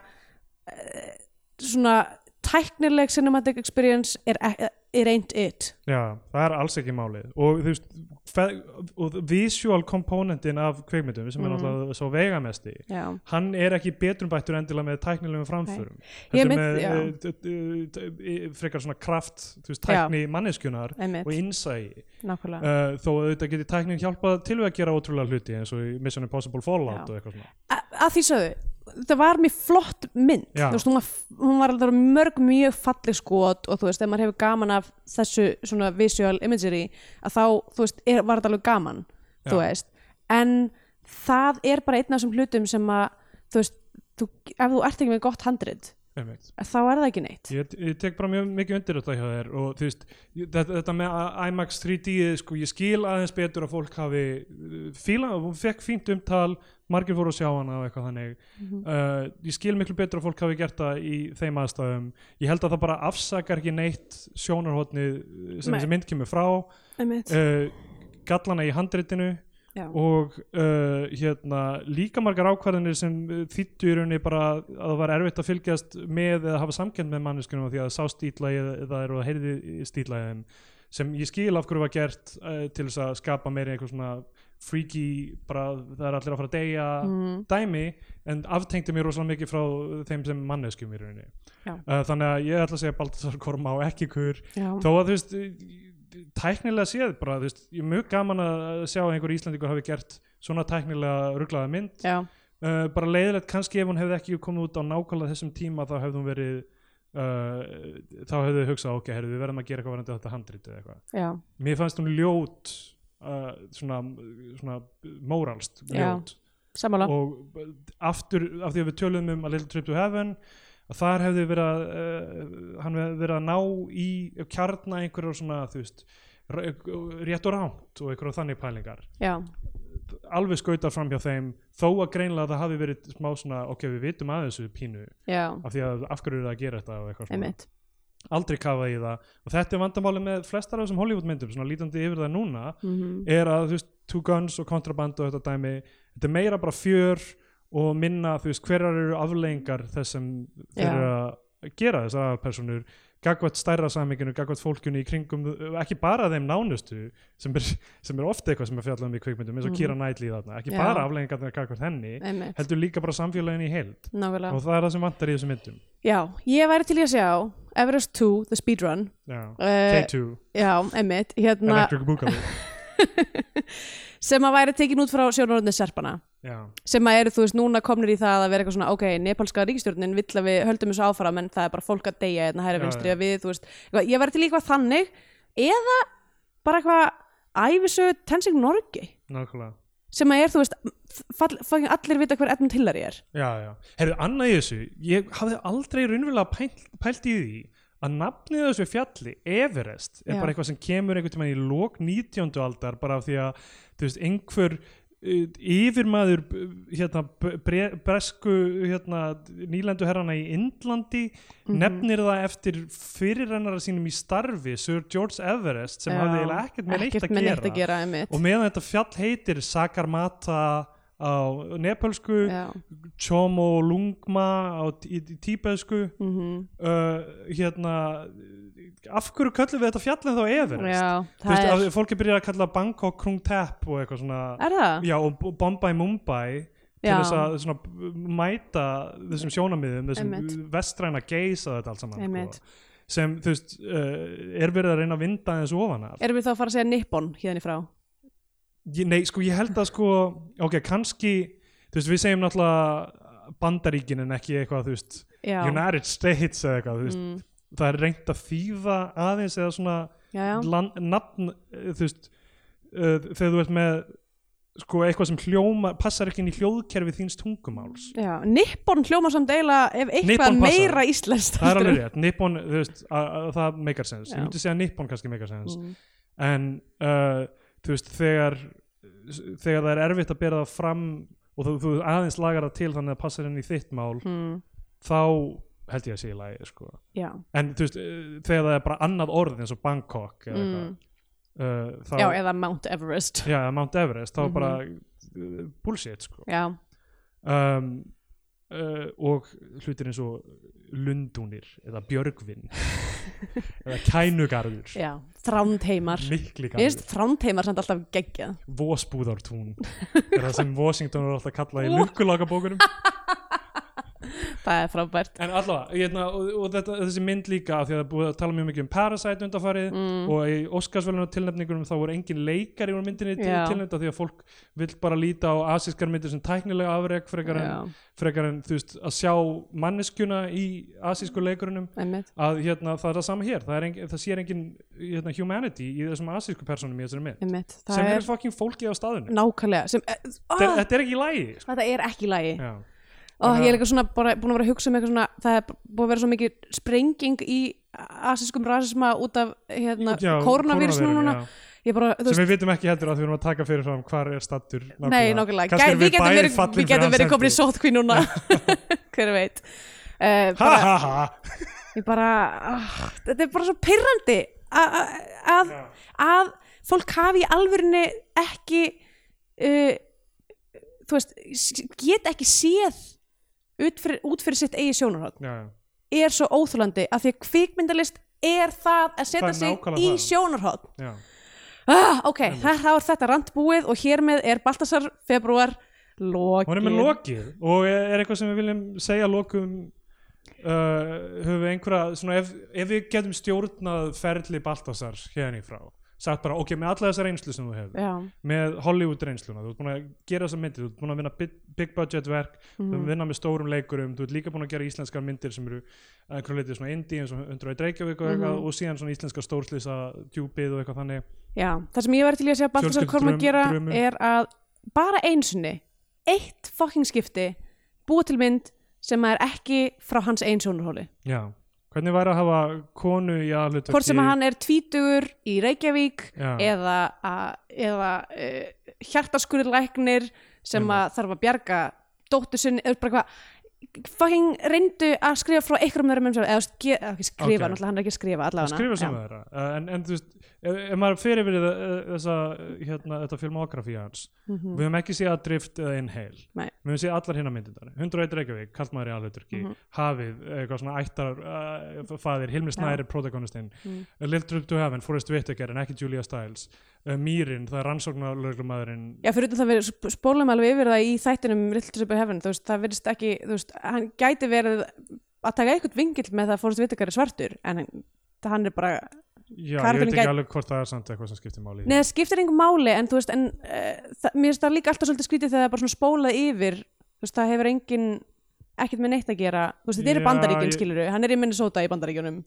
Speaker 1: eh, svona tæknileg cinematic experience er, ek- er ain't it
Speaker 2: já, það er alls ekki málið og þú veist fe- og visual komponentin af kveikmyndum sem
Speaker 1: Mm.
Speaker 2: er náttúrulega svo vegamesti
Speaker 1: já,
Speaker 2: hann er ekki betrumbættur endilega með tæknilegum framförum
Speaker 1: Ég
Speaker 2: heldur
Speaker 1: mynd-
Speaker 2: með
Speaker 1: já.
Speaker 2: eh, t- t- t- e, frekar svona kraft þú veist,
Speaker 1: Já.
Speaker 2: tækni manneskjunar
Speaker 1: Einmitt.
Speaker 2: og innsæi
Speaker 1: nákvæmlega
Speaker 2: uh, þó að auðvitað geti tæknin hjálpað til við að gera ótrúlega hluti eins og í Mission Impossible Fallout
Speaker 1: Já.
Speaker 2: og eitthvað svona
Speaker 1: A- að því sögðu þetta var mjög flott mynd
Speaker 2: Já.
Speaker 1: þú veist, hún var, hún var alveg mörg mjög falleg skot og þú veist, ef maður hefur gaman af þessu svona visual imagery að þá, þú veist, er, var þetta alveg gaman þú veist, en það er bara einn af þessum hlutum sem að þú veist, þú, ef þú ert ekki með gott handrit,
Speaker 2: Einmitt.
Speaker 1: þá er það ekki neitt
Speaker 2: Ég, ég tek bara mjög mikið undir þetta hjá þér og þú veist, ég- þetta, þetta með I- IMAX 3D, sko, ég skil aðeins betur að fólk hafi uh, fíla, hún fekk fínt umtal, margir fóru að sjá hana og eitthvað þannig uh, ég skil miklu betur að fólk hafi gert það í þeim aðstæðum, ég held að það bara afsakar ekki neitt sjónarhóttni sem
Speaker 1: Nei.
Speaker 2: þessi mynd kemur frá
Speaker 1: Einmitt.
Speaker 2: uh, gallana í handritinu
Speaker 1: Já.
Speaker 2: og uh, hérna, líka margar ákvarðanir sem þýttu í rauninni bara að það var erfitt að fylgjast með eða hafa samkend með manneskunum af því að sá stílægið eða er og heyrði stílægið sem ég skil af hverju var gert uh, til þess að skapa meiri einhver svona freaky, bara það er allir að fara að deyja
Speaker 1: Mm.
Speaker 2: dæmi en aftengdi mér rosalega mikið frá þeim sem manneskjum í rauninni
Speaker 1: Já.
Speaker 2: uh, þannig að ég ætla að segja Baltasar Korma og ekki kur
Speaker 1: Já.
Speaker 2: þó að þú veist tæknilega séð bara þú veist, ég er mjög gaman að sjá að einhver Íslandingur hafi gert svona tæknilega rugglaða mynd
Speaker 1: Já.
Speaker 2: uh, bara leiðilegt kannski ef hún hefði ekki komið út á nákvæmlega þessum tíma þá hefði hún verið uh, þá hefði þau hugsað ok, heyrðu, við verðum að gera eitthvað varandi þetta handrítið eitthvað
Speaker 1: Já.
Speaker 2: mér fannst hún ljót uh, svona, svona móralst
Speaker 1: Já.
Speaker 2: ljót
Speaker 1: sammála
Speaker 2: og aftur af því að við töluðum um að Little Trip to Heaven að þar hefði verið að uh, hann hefði verið að ná í kjarna einhverjar svona þú veist r- rétt og rámt og einhverjar þannig pælingar
Speaker 1: Já.
Speaker 2: alveg skautar fram hjá þeim þó að greinlega það hafi verið smá svona ok við vitum að þessu pínu
Speaker 1: Já.
Speaker 2: af því að af hverju eru það að gera þetta og eitthvað svona
Speaker 1: Einmitt.
Speaker 2: aldrei kafað í það og þetta er vandamáli með flestar af þessum Hollywood myndum svona lítandi yfir það núna
Speaker 1: Mm
Speaker 2: er að þú veist, Two Guns og Contraband og þetta dæmi, þetta er meira bara fjör og minna, þú veist, hverjar eru aflengar þess sem þeir
Speaker 1: Já.
Speaker 2: eru að gera þessar aðalpersonur gagvart stærra saminginu, gagvart fólkinu í kringum ekki bara þeim nánustu sem er, sem er ofta eitthvað sem er fjallað um í kvikmyndum eins og
Speaker 1: Mhm.
Speaker 2: Kira Knightley þarna, ekki
Speaker 1: Já.
Speaker 2: bara aflengarnir gagvart henni,
Speaker 1: Einmitt.
Speaker 2: heldur líka bara samfélaginu í heild
Speaker 1: nákvæmlega
Speaker 2: og það er það sem vantar í þessum myndum
Speaker 1: Já, ég væri til í að sjá Everest 2, The Speedrun
Speaker 2: Já.
Speaker 1: uh,
Speaker 2: K2,
Speaker 1: Já, einmitt hérna,
Speaker 2: Electric Boogaloo
Speaker 1: sem að væri tekin út frá sjónaröndin Serpana
Speaker 2: Já,
Speaker 1: sem að eru, þú veist, núna komnir í það að vera eitthvað svona, ok, nepalska ríkistjórnin vill að við höldum þessu áfram en það er bara fólk að deyja hérna hæra
Speaker 2: Já,
Speaker 1: vinstri
Speaker 2: já.
Speaker 1: að við, þú veist eitthvað, ég væri til í eitthvað þannig eða bara eitthvað æfisögu Tensing Norgi
Speaker 2: nákvæmlega
Speaker 1: sem að er, þú veist, fall, fall, allir vita hver Edmund Hillary er
Speaker 2: Já, já. Herðu, annað í þessu, ég hafði aldrei raunverulega pælt, pælt í því að nafnið á þessu fjalli, Everest, er
Speaker 1: Já.
Speaker 2: bara eitthvað sem kemur einhvern tímann í lok 19. aldar bara af því að, þú veist, einhver uh, yfirmaður uh, hérna, bre, bresku hérna, nýlendu herrana í Indlandi
Speaker 1: Mhm.
Speaker 2: nefnir það eftir fyrirrennara sínum í starfi Sir George Everest sem
Speaker 1: Já.
Speaker 2: hafði eiginlega ekkert með neitt
Speaker 1: ekkert
Speaker 2: að
Speaker 1: með
Speaker 2: gera,
Speaker 1: neitt að gera, einmitt
Speaker 2: og meðan þetta fjall heitir Sakarmata á nepölsku
Speaker 1: Já,
Speaker 2: Chomo Lungma á t- í í tíbesku
Speaker 1: mm
Speaker 2: uh, hérna af hverju köllum við þetta fjallin þá Everest?
Speaker 1: já
Speaker 2: Þú veist,
Speaker 1: það
Speaker 2: að
Speaker 1: er,
Speaker 2: fólki byrjar að kalla Bangkok Krung Tap og eitthvað svona
Speaker 1: er það?
Speaker 2: já, og B- Bombay Mumbai til
Speaker 1: Já.
Speaker 2: þess að svona b- mæta þessum sjónamiðum, þessum
Speaker 1: Einmitt.
Speaker 2: vestræna geisa þetta allt saman sko.
Speaker 1: Einmitt.
Speaker 2: sem þú veist, uh, er verið að reyna að vinda þessu ofan af
Speaker 1: Erum við þá að fara að segja Nippon hérna í frá?
Speaker 2: ég, nei, sko, ég held að sko ok, kannski, þú veist, við segjum náttúrulega bandaríkin en ekki eitthvað, þú veist,
Speaker 1: Já, Mm.
Speaker 2: United States eða eitthvað, þú veist, það er reynt að þýða aðeins eða svona
Speaker 1: já, já,
Speaker 2: land, nafn, eh, þú veist uh, þegar þú eh, ert með sko eitthvað sem hljóma, passar ekki inn í hljóðkerfi þíns tungumáls
Speaker 1: Já, Nippon hljóma samt eiginlega ef eitthvað
Speaker 2: Nippon passar.
Speaker 1: meira íslenskt
Speaker 2: það
Speaker 1: heldur
Speaker 2: er
Speaker 1: *laughs*
Speaker 2: alveg
Speaker 1: en-
Speaker 2: rétt, nippon, þú veist að, að, það meikar sens,
Speaker 1: Já. Mm.
Speaker 2: ég myndi segja nippon kannski meikar sens en uh, þú veist, þegar þegar það er erfitt að bera það fram og þú, þú aðeins lagar það til þannig að það passar inn í þitt mál
Speaker 1: mm.
Speaker 2: þá held ég að sé í lagi sko.
Speaker 1: Já,
Speaker 2: en þú veist, uh, þegar það er bara annað orð eins og Bangkok eða
Speaker 1: mm.
Speaker 2: eitthvað uh, þá,
Speaker 1: Já, eða Mount Everest
Speaker 2: já, Mount Everest, þá bara
Speaker 1: Mhm.
Speaker 2: uh, bullshit sko
Speaker 1: Já,
Speaker 2: um, uh, og hlutir eins og lundúnir eða
Speaker 1: *laughs*
Speaker 2: björgvin eða kænugarður
Speaker 1: já, þrándheimar Mér finnst
Speaker 2: mikligarður,
Speaker 1: þrándheimar samt alltaf geggjað *laughs*
Speaker 2: vosbúðartún er það sem Washington er alltaf kallað í lukkulaka
Speaker 1: Það er frábært
Speaker 2: en allavega, hérna, og, og þetta, þessi mynd líka af því að það er búið að tala mjög mikið um Parasite undarfarið
Speaker 1: Mm.
Speaker 2: og í Óskarsvelunar tilnefningunum þá voru engin leikari úr myndinni til,
Speaker 1: Já.
Speaker 2: tilnefnd af því að fólk vill bara líta á asískar myndir sem tæknilega afreg frekar en, frekar en þú veist, að sjá manneskjuna í asísku leikurunum
Speaker 1: einmitt
Speaker 2: að hérna, það er það sama hér það, er engin, það sér engin hérna, humanity í þessum asísku personum í þessari mynd
Speaker 1: Einmitt, það
Speaker 2: sem
Speaker 1: er,
Speaker 2: er, fucking fólkið á staðinu
Speaker 1: nákvæmlega sem, eh, ó,
Speaker 2: þetta, er- þetta er ekki í lægi sko.
Speaker 1: Þetta er ekki í lagi
Speaker 2: Já.
Speaker 1: Ó, ég er líka svona bara, búin að vera að hugsa um eitthvað svona það er búin að vera svo mikið sprenging í asískum rasisma út af hérna,
Speaker 2: Já,
Speaker 1: kórnavírus
Speaker 2: kórónuveiru,
Speaker 1: núna
Speaker 2: já.
Speaker 1: ég bara, þú
Speaker 2: sem
Speaker 1: veist,
Speaker 2: við vitum ekki heldur að við erum að taka fyrir fram hvar er stattur
Speaker 1: nei, nákvæmlega
Speaker 2: Kannski
Speaker 1: Gæ-
Speaker 2: erum
Speaker 1: við getum
Speaker 2: bæði
Speaker 1: verið,
Speaker 2: fallin
Speaker 1: við
Speaker 2: fyrir
Speaker 1: getum
Speaker 2: hans
Speaker 1: verið komin í
Speaker 2: hendi.
Speaker 1: sótkví núna
Speaker 2: *laughs*
Speaker 1: hver veit uh,
Speaker 2: ha
Speaker 1: bara,
Speaker 2: ha ha
Speaker 1: ég bara ah, þetta er bara svo pyrrandi að, að,
Speaker 2: Já.
Speaker 1: að fólk hafi í alvörinni ekki uh, þú veist s- get ekki séð út fyrir, út fyrir sitt eigi sjónarhótt
Speaker 2: Já, já.
Speaker 1: er svo óþúlandi að því að kvikmyndalist er það að setja
Speaker 2: Það er
Speaker 1: sig
Speaker 2: nákvæmlega
Speaker 1: í
Speaker 2: það.
Speaker 1: sjónarhótt
Speaker 2: Já.
Speaker 1: ah, ok, það er þetta rant búið og hér með er Baltasar februar
Speaker 2: hún er
Speaker 1: lokið
Speaker 2: með lokið og er eitthvað sem við viljum segja lokum uh, höfum við einhverja svona, ef, ef við getum stjórnað ferli Baltasar hérna í frá sagt bara ok, með alla þessa reynslu sem þú hefur
Speaker 1: já,
Speaker 2: með Hollywood reynsluna, þú ert búin að gera þessar myndir þú ert búin að vinna big, big budget verk þú
Speaker 1: mhm. Mm.
Speaker 2: ert að vinna með stórum leikurum, þú ert líka búin að gera íslenskar myndir sem eru að einhverju leiti svona indie eins og undraði Reykjavík og eitthvað
Speaker 1: Mhm.
Speaker 2: og síðan svona íslenska stórslýsa djúpið og eitthvað þannig
Speaker 1: já, það sem ég væri til í að segja að Baltasar
Speaker 2: Fjölskyldu
Speaker 1: Korma
Speaker 2: draum-
Speaker 1: gera
Speaker 2: draumur.
Speaker 1: er að bara einsunni eitt fucking skipti búið til mynd sem er ekki frá hans einn sjónarhóli
Speaker 2: já, hvernig væri að hafa konu í aðhlutverki
Speaker 1: hvort sem að hann er tvítugur í Reykjavík
Speaker 2: Já.
Speaker 1: eða, að- eða uh, hjartaskurðlæknir sem að þarf að bjarga dóttur sinni, eða bara hvað fucking reyndu að skrifa frá einhverjum þeirra mönnum eða þú veist, ge- eða ekki skrifa,
Speaker 2: Ok.
Speaker 1: náttúrulega hann er ekki að skrifa allavega
Speaker 2: skrifa sem þeirra uh, en, en þú veist, ef, ef maður fyrir við þessa, uh, hérna, þetta filmografi hans við höfum ekki séð að drift eða inhale
Speaker 1: Mhm. Nei.
Speaker 2: við höfum séð allar hinna myndindar 101 Reykjavík, kallt maður í alvegturki
Speaker 1: Mhm.
Speaker 2: hafið, eitthvað svona ættar uh, faðir, Hilmi Snæri, protagonistinn
Speaker 1: Mhm.
Speaker 2: mm. Little Trip to Heaven, Forrest Whitaker en ekki Julia Stiles, uh, Mýrin það er rannsóknarlöglumadurinn
Speaker 1: Já, fyrir utan það við sp- spólum alveg yfir það í þættinum Rillisupur Hefn, þú veist, það verðist ekki þú veist, hann gæti verið að taka eitthvað vingill með það fórst vitakari svartur en hann, hann er bara
Speaker 2: já, ég
Speaker 1: Karakterinn
Speaker 2: veit
Speaker 1: gæti-
Speaker 2: ekki alveg hvort það er samt eitthvað sem skiptir máli í-
Speaker 1: Nei, það skiptir engum máli en þú veist, en uh, það, mér finnst það líka alltaf svolítið skrítið þegar það er bara svona spólað yfir þú veist, það hefur engin ekkert með neitt að gera, þú veist, þetta eru
Speaker 2: Já,
Speaker 1: bandaríkjun
Speaker 2: ég-
Speaker 1: skilur hann er í Minnesota í bandaríkjunum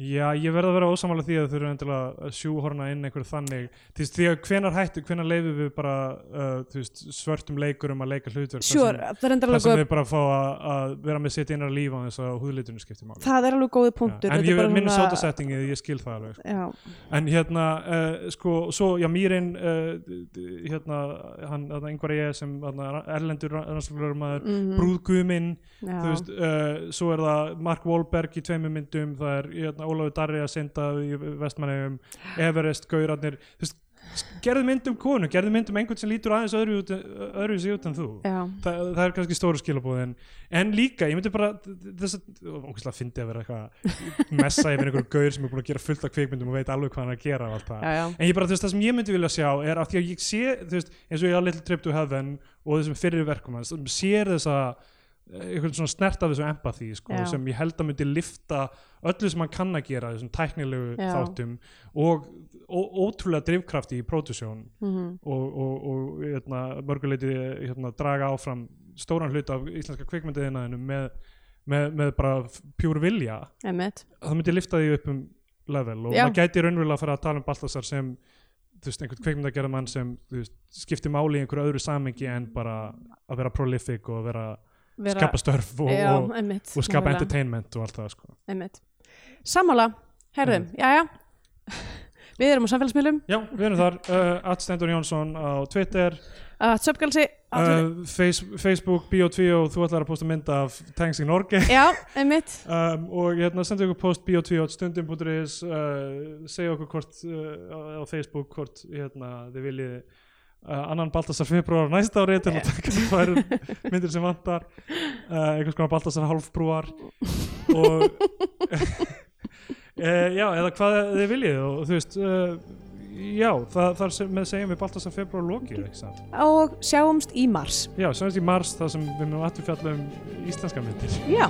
Speaker 2: Já, ég verð að vera ósamála því að þau eru endilega að sjúhorna inn einhver þannig Þú veist, því að hvenar hættu, hvenar leifum við bara uh, þú veist, svörtum leikurum að leika hlutverk þar
Speaker 1: Sure, uh,
Speaker 2: sem,
Speaker 1: það er endur
Speaker 2: þar
Speaker 1: alveg
Speaker 2: sem
Speaker 1: góð
Speaker 2: við bara fá að, að vera með sitt innar líf á þess að húðlitunum skiptir máli
Speaker 1: það er alveg góði
Speaker 2: Já,
Speaker 1: punktur
Speaker 2: En
Speaker 1: þetta er
Speaker 2: ég
Speaker 1: bara
Speaker 2: minn
Speaker 1: svona-
Speaker 2: svona... settingið, ég skil það alveg sko.
Speaker 1: Já,
Speaker 2: En hérna, uh, sko, svo, já, Mýrin uh, d- d- hérna, hann, hann einhver ég sem hérna, erlendur rannsóklar maður, mm
Speaker 1: Mhm.
Speaker 2: -hmm. brúðguminn
Speaker 1: já,
Speaker 2: þú veist, uh, svo er það Mark Wahlberg í tveimur myndum, það er hérna, Ólafur Darri að synda í vestmannegum Everest, Gaurarnir þú veist, gerðu mynd um konu, gerðu mynd um einhvern sem lítur aðeins öðru, út, öðru sig út en þú
Speaker 1: já,
Speaker 2: Þa, það er kannski stóru skilabóðin en líka, ég myndi bara þess að, ógæslega fyndi að vera eitthvað að messa yfir einhverjum gaur sem er búin að gera fullt af kvikmyndum og veit alveg hvað hann er að gera og allt það
Speaker 1: já, já.
Speaker 2: en ég bara, þú veist, það sem ég myndi vilja sjá er af því að ég sé, þú veist, eins og ég að Little Trip to Heaven og þessum fyrir verkum hans sem sér þessa, eh, einhvern svona snert af þessu empathy, sko,
Speaker 1: Já.
Speaker 2: sem ég held að myndi lifta öllu sem hann kann að gera þessum tæknilegu
Speaker 1: Já.
Speaker 2: þáttum og, og ótrúlega drifkrafti í pródusjón
Speaker 1: mhm,
Speaker 2: og, og, og hérna, mörguleiti hérna, draga áfram stóran hlut af íslenska kvikmyndiðinaðinu með, með, með bara pjúr vilja
Speaker 1: emmitt
Speaker 2: það myndi lifta því upp um level og
Speaker 1: Já.
Speaker 2: maður gæti raunverulega að fara að tala um Baltasar sem þú veist, einhvern kveikmyndagerðar mann sem þú veist, skiptir máli í einhverju öðru samengi en bara að vera prolific og vera,
Speaker 1: vera,
Speaker 2: skapa störf og,
Speaker 4: já,
Speaker 2: og,
Speaker 4: einmitt,
Speaker 2: og skapa
Speaker 4: nákvæmlega,
Speaker 2: entertainment og allt það sko.
Speaker 4: einmitt. Sammála, herðum,
Speaker 2: Einmitt.
Speaker 4: jæja Við erum á samfélagsmiðlum
Speaker 2: Já, við erum þar, uh, Atstendur Jónsson á Twitter,
Speaker 4: uh, Söpgalsi uh,
Speaker 2: uh, face, Facebook, Bio2 og þú ætlar að posta mynd af Tanks í Norge
Speaker 4: Já, einmitt
Speaker 2: um, og hérna sendu ykkur post Bio2 á stundum.is uh, segja okkur hvort uh, á Facebook hvort hérna þið viljið uh, annan Baltasar februar næsta ári til að taka tvær myndir sem vantar uh, einhvers konar Baltasar hálfbrúar og *laughs* uh, já, eða hvað þið viljið og þú veist uh, já, það, þar sem, með segjum við Baltasar februar lokið, ekki sant?
Speaker 4: Og sjáumst í mars
Speaker 2: Já, semst í mars þar sem við munum aftur fjalla um íslenska myndir
Speaker 4: Já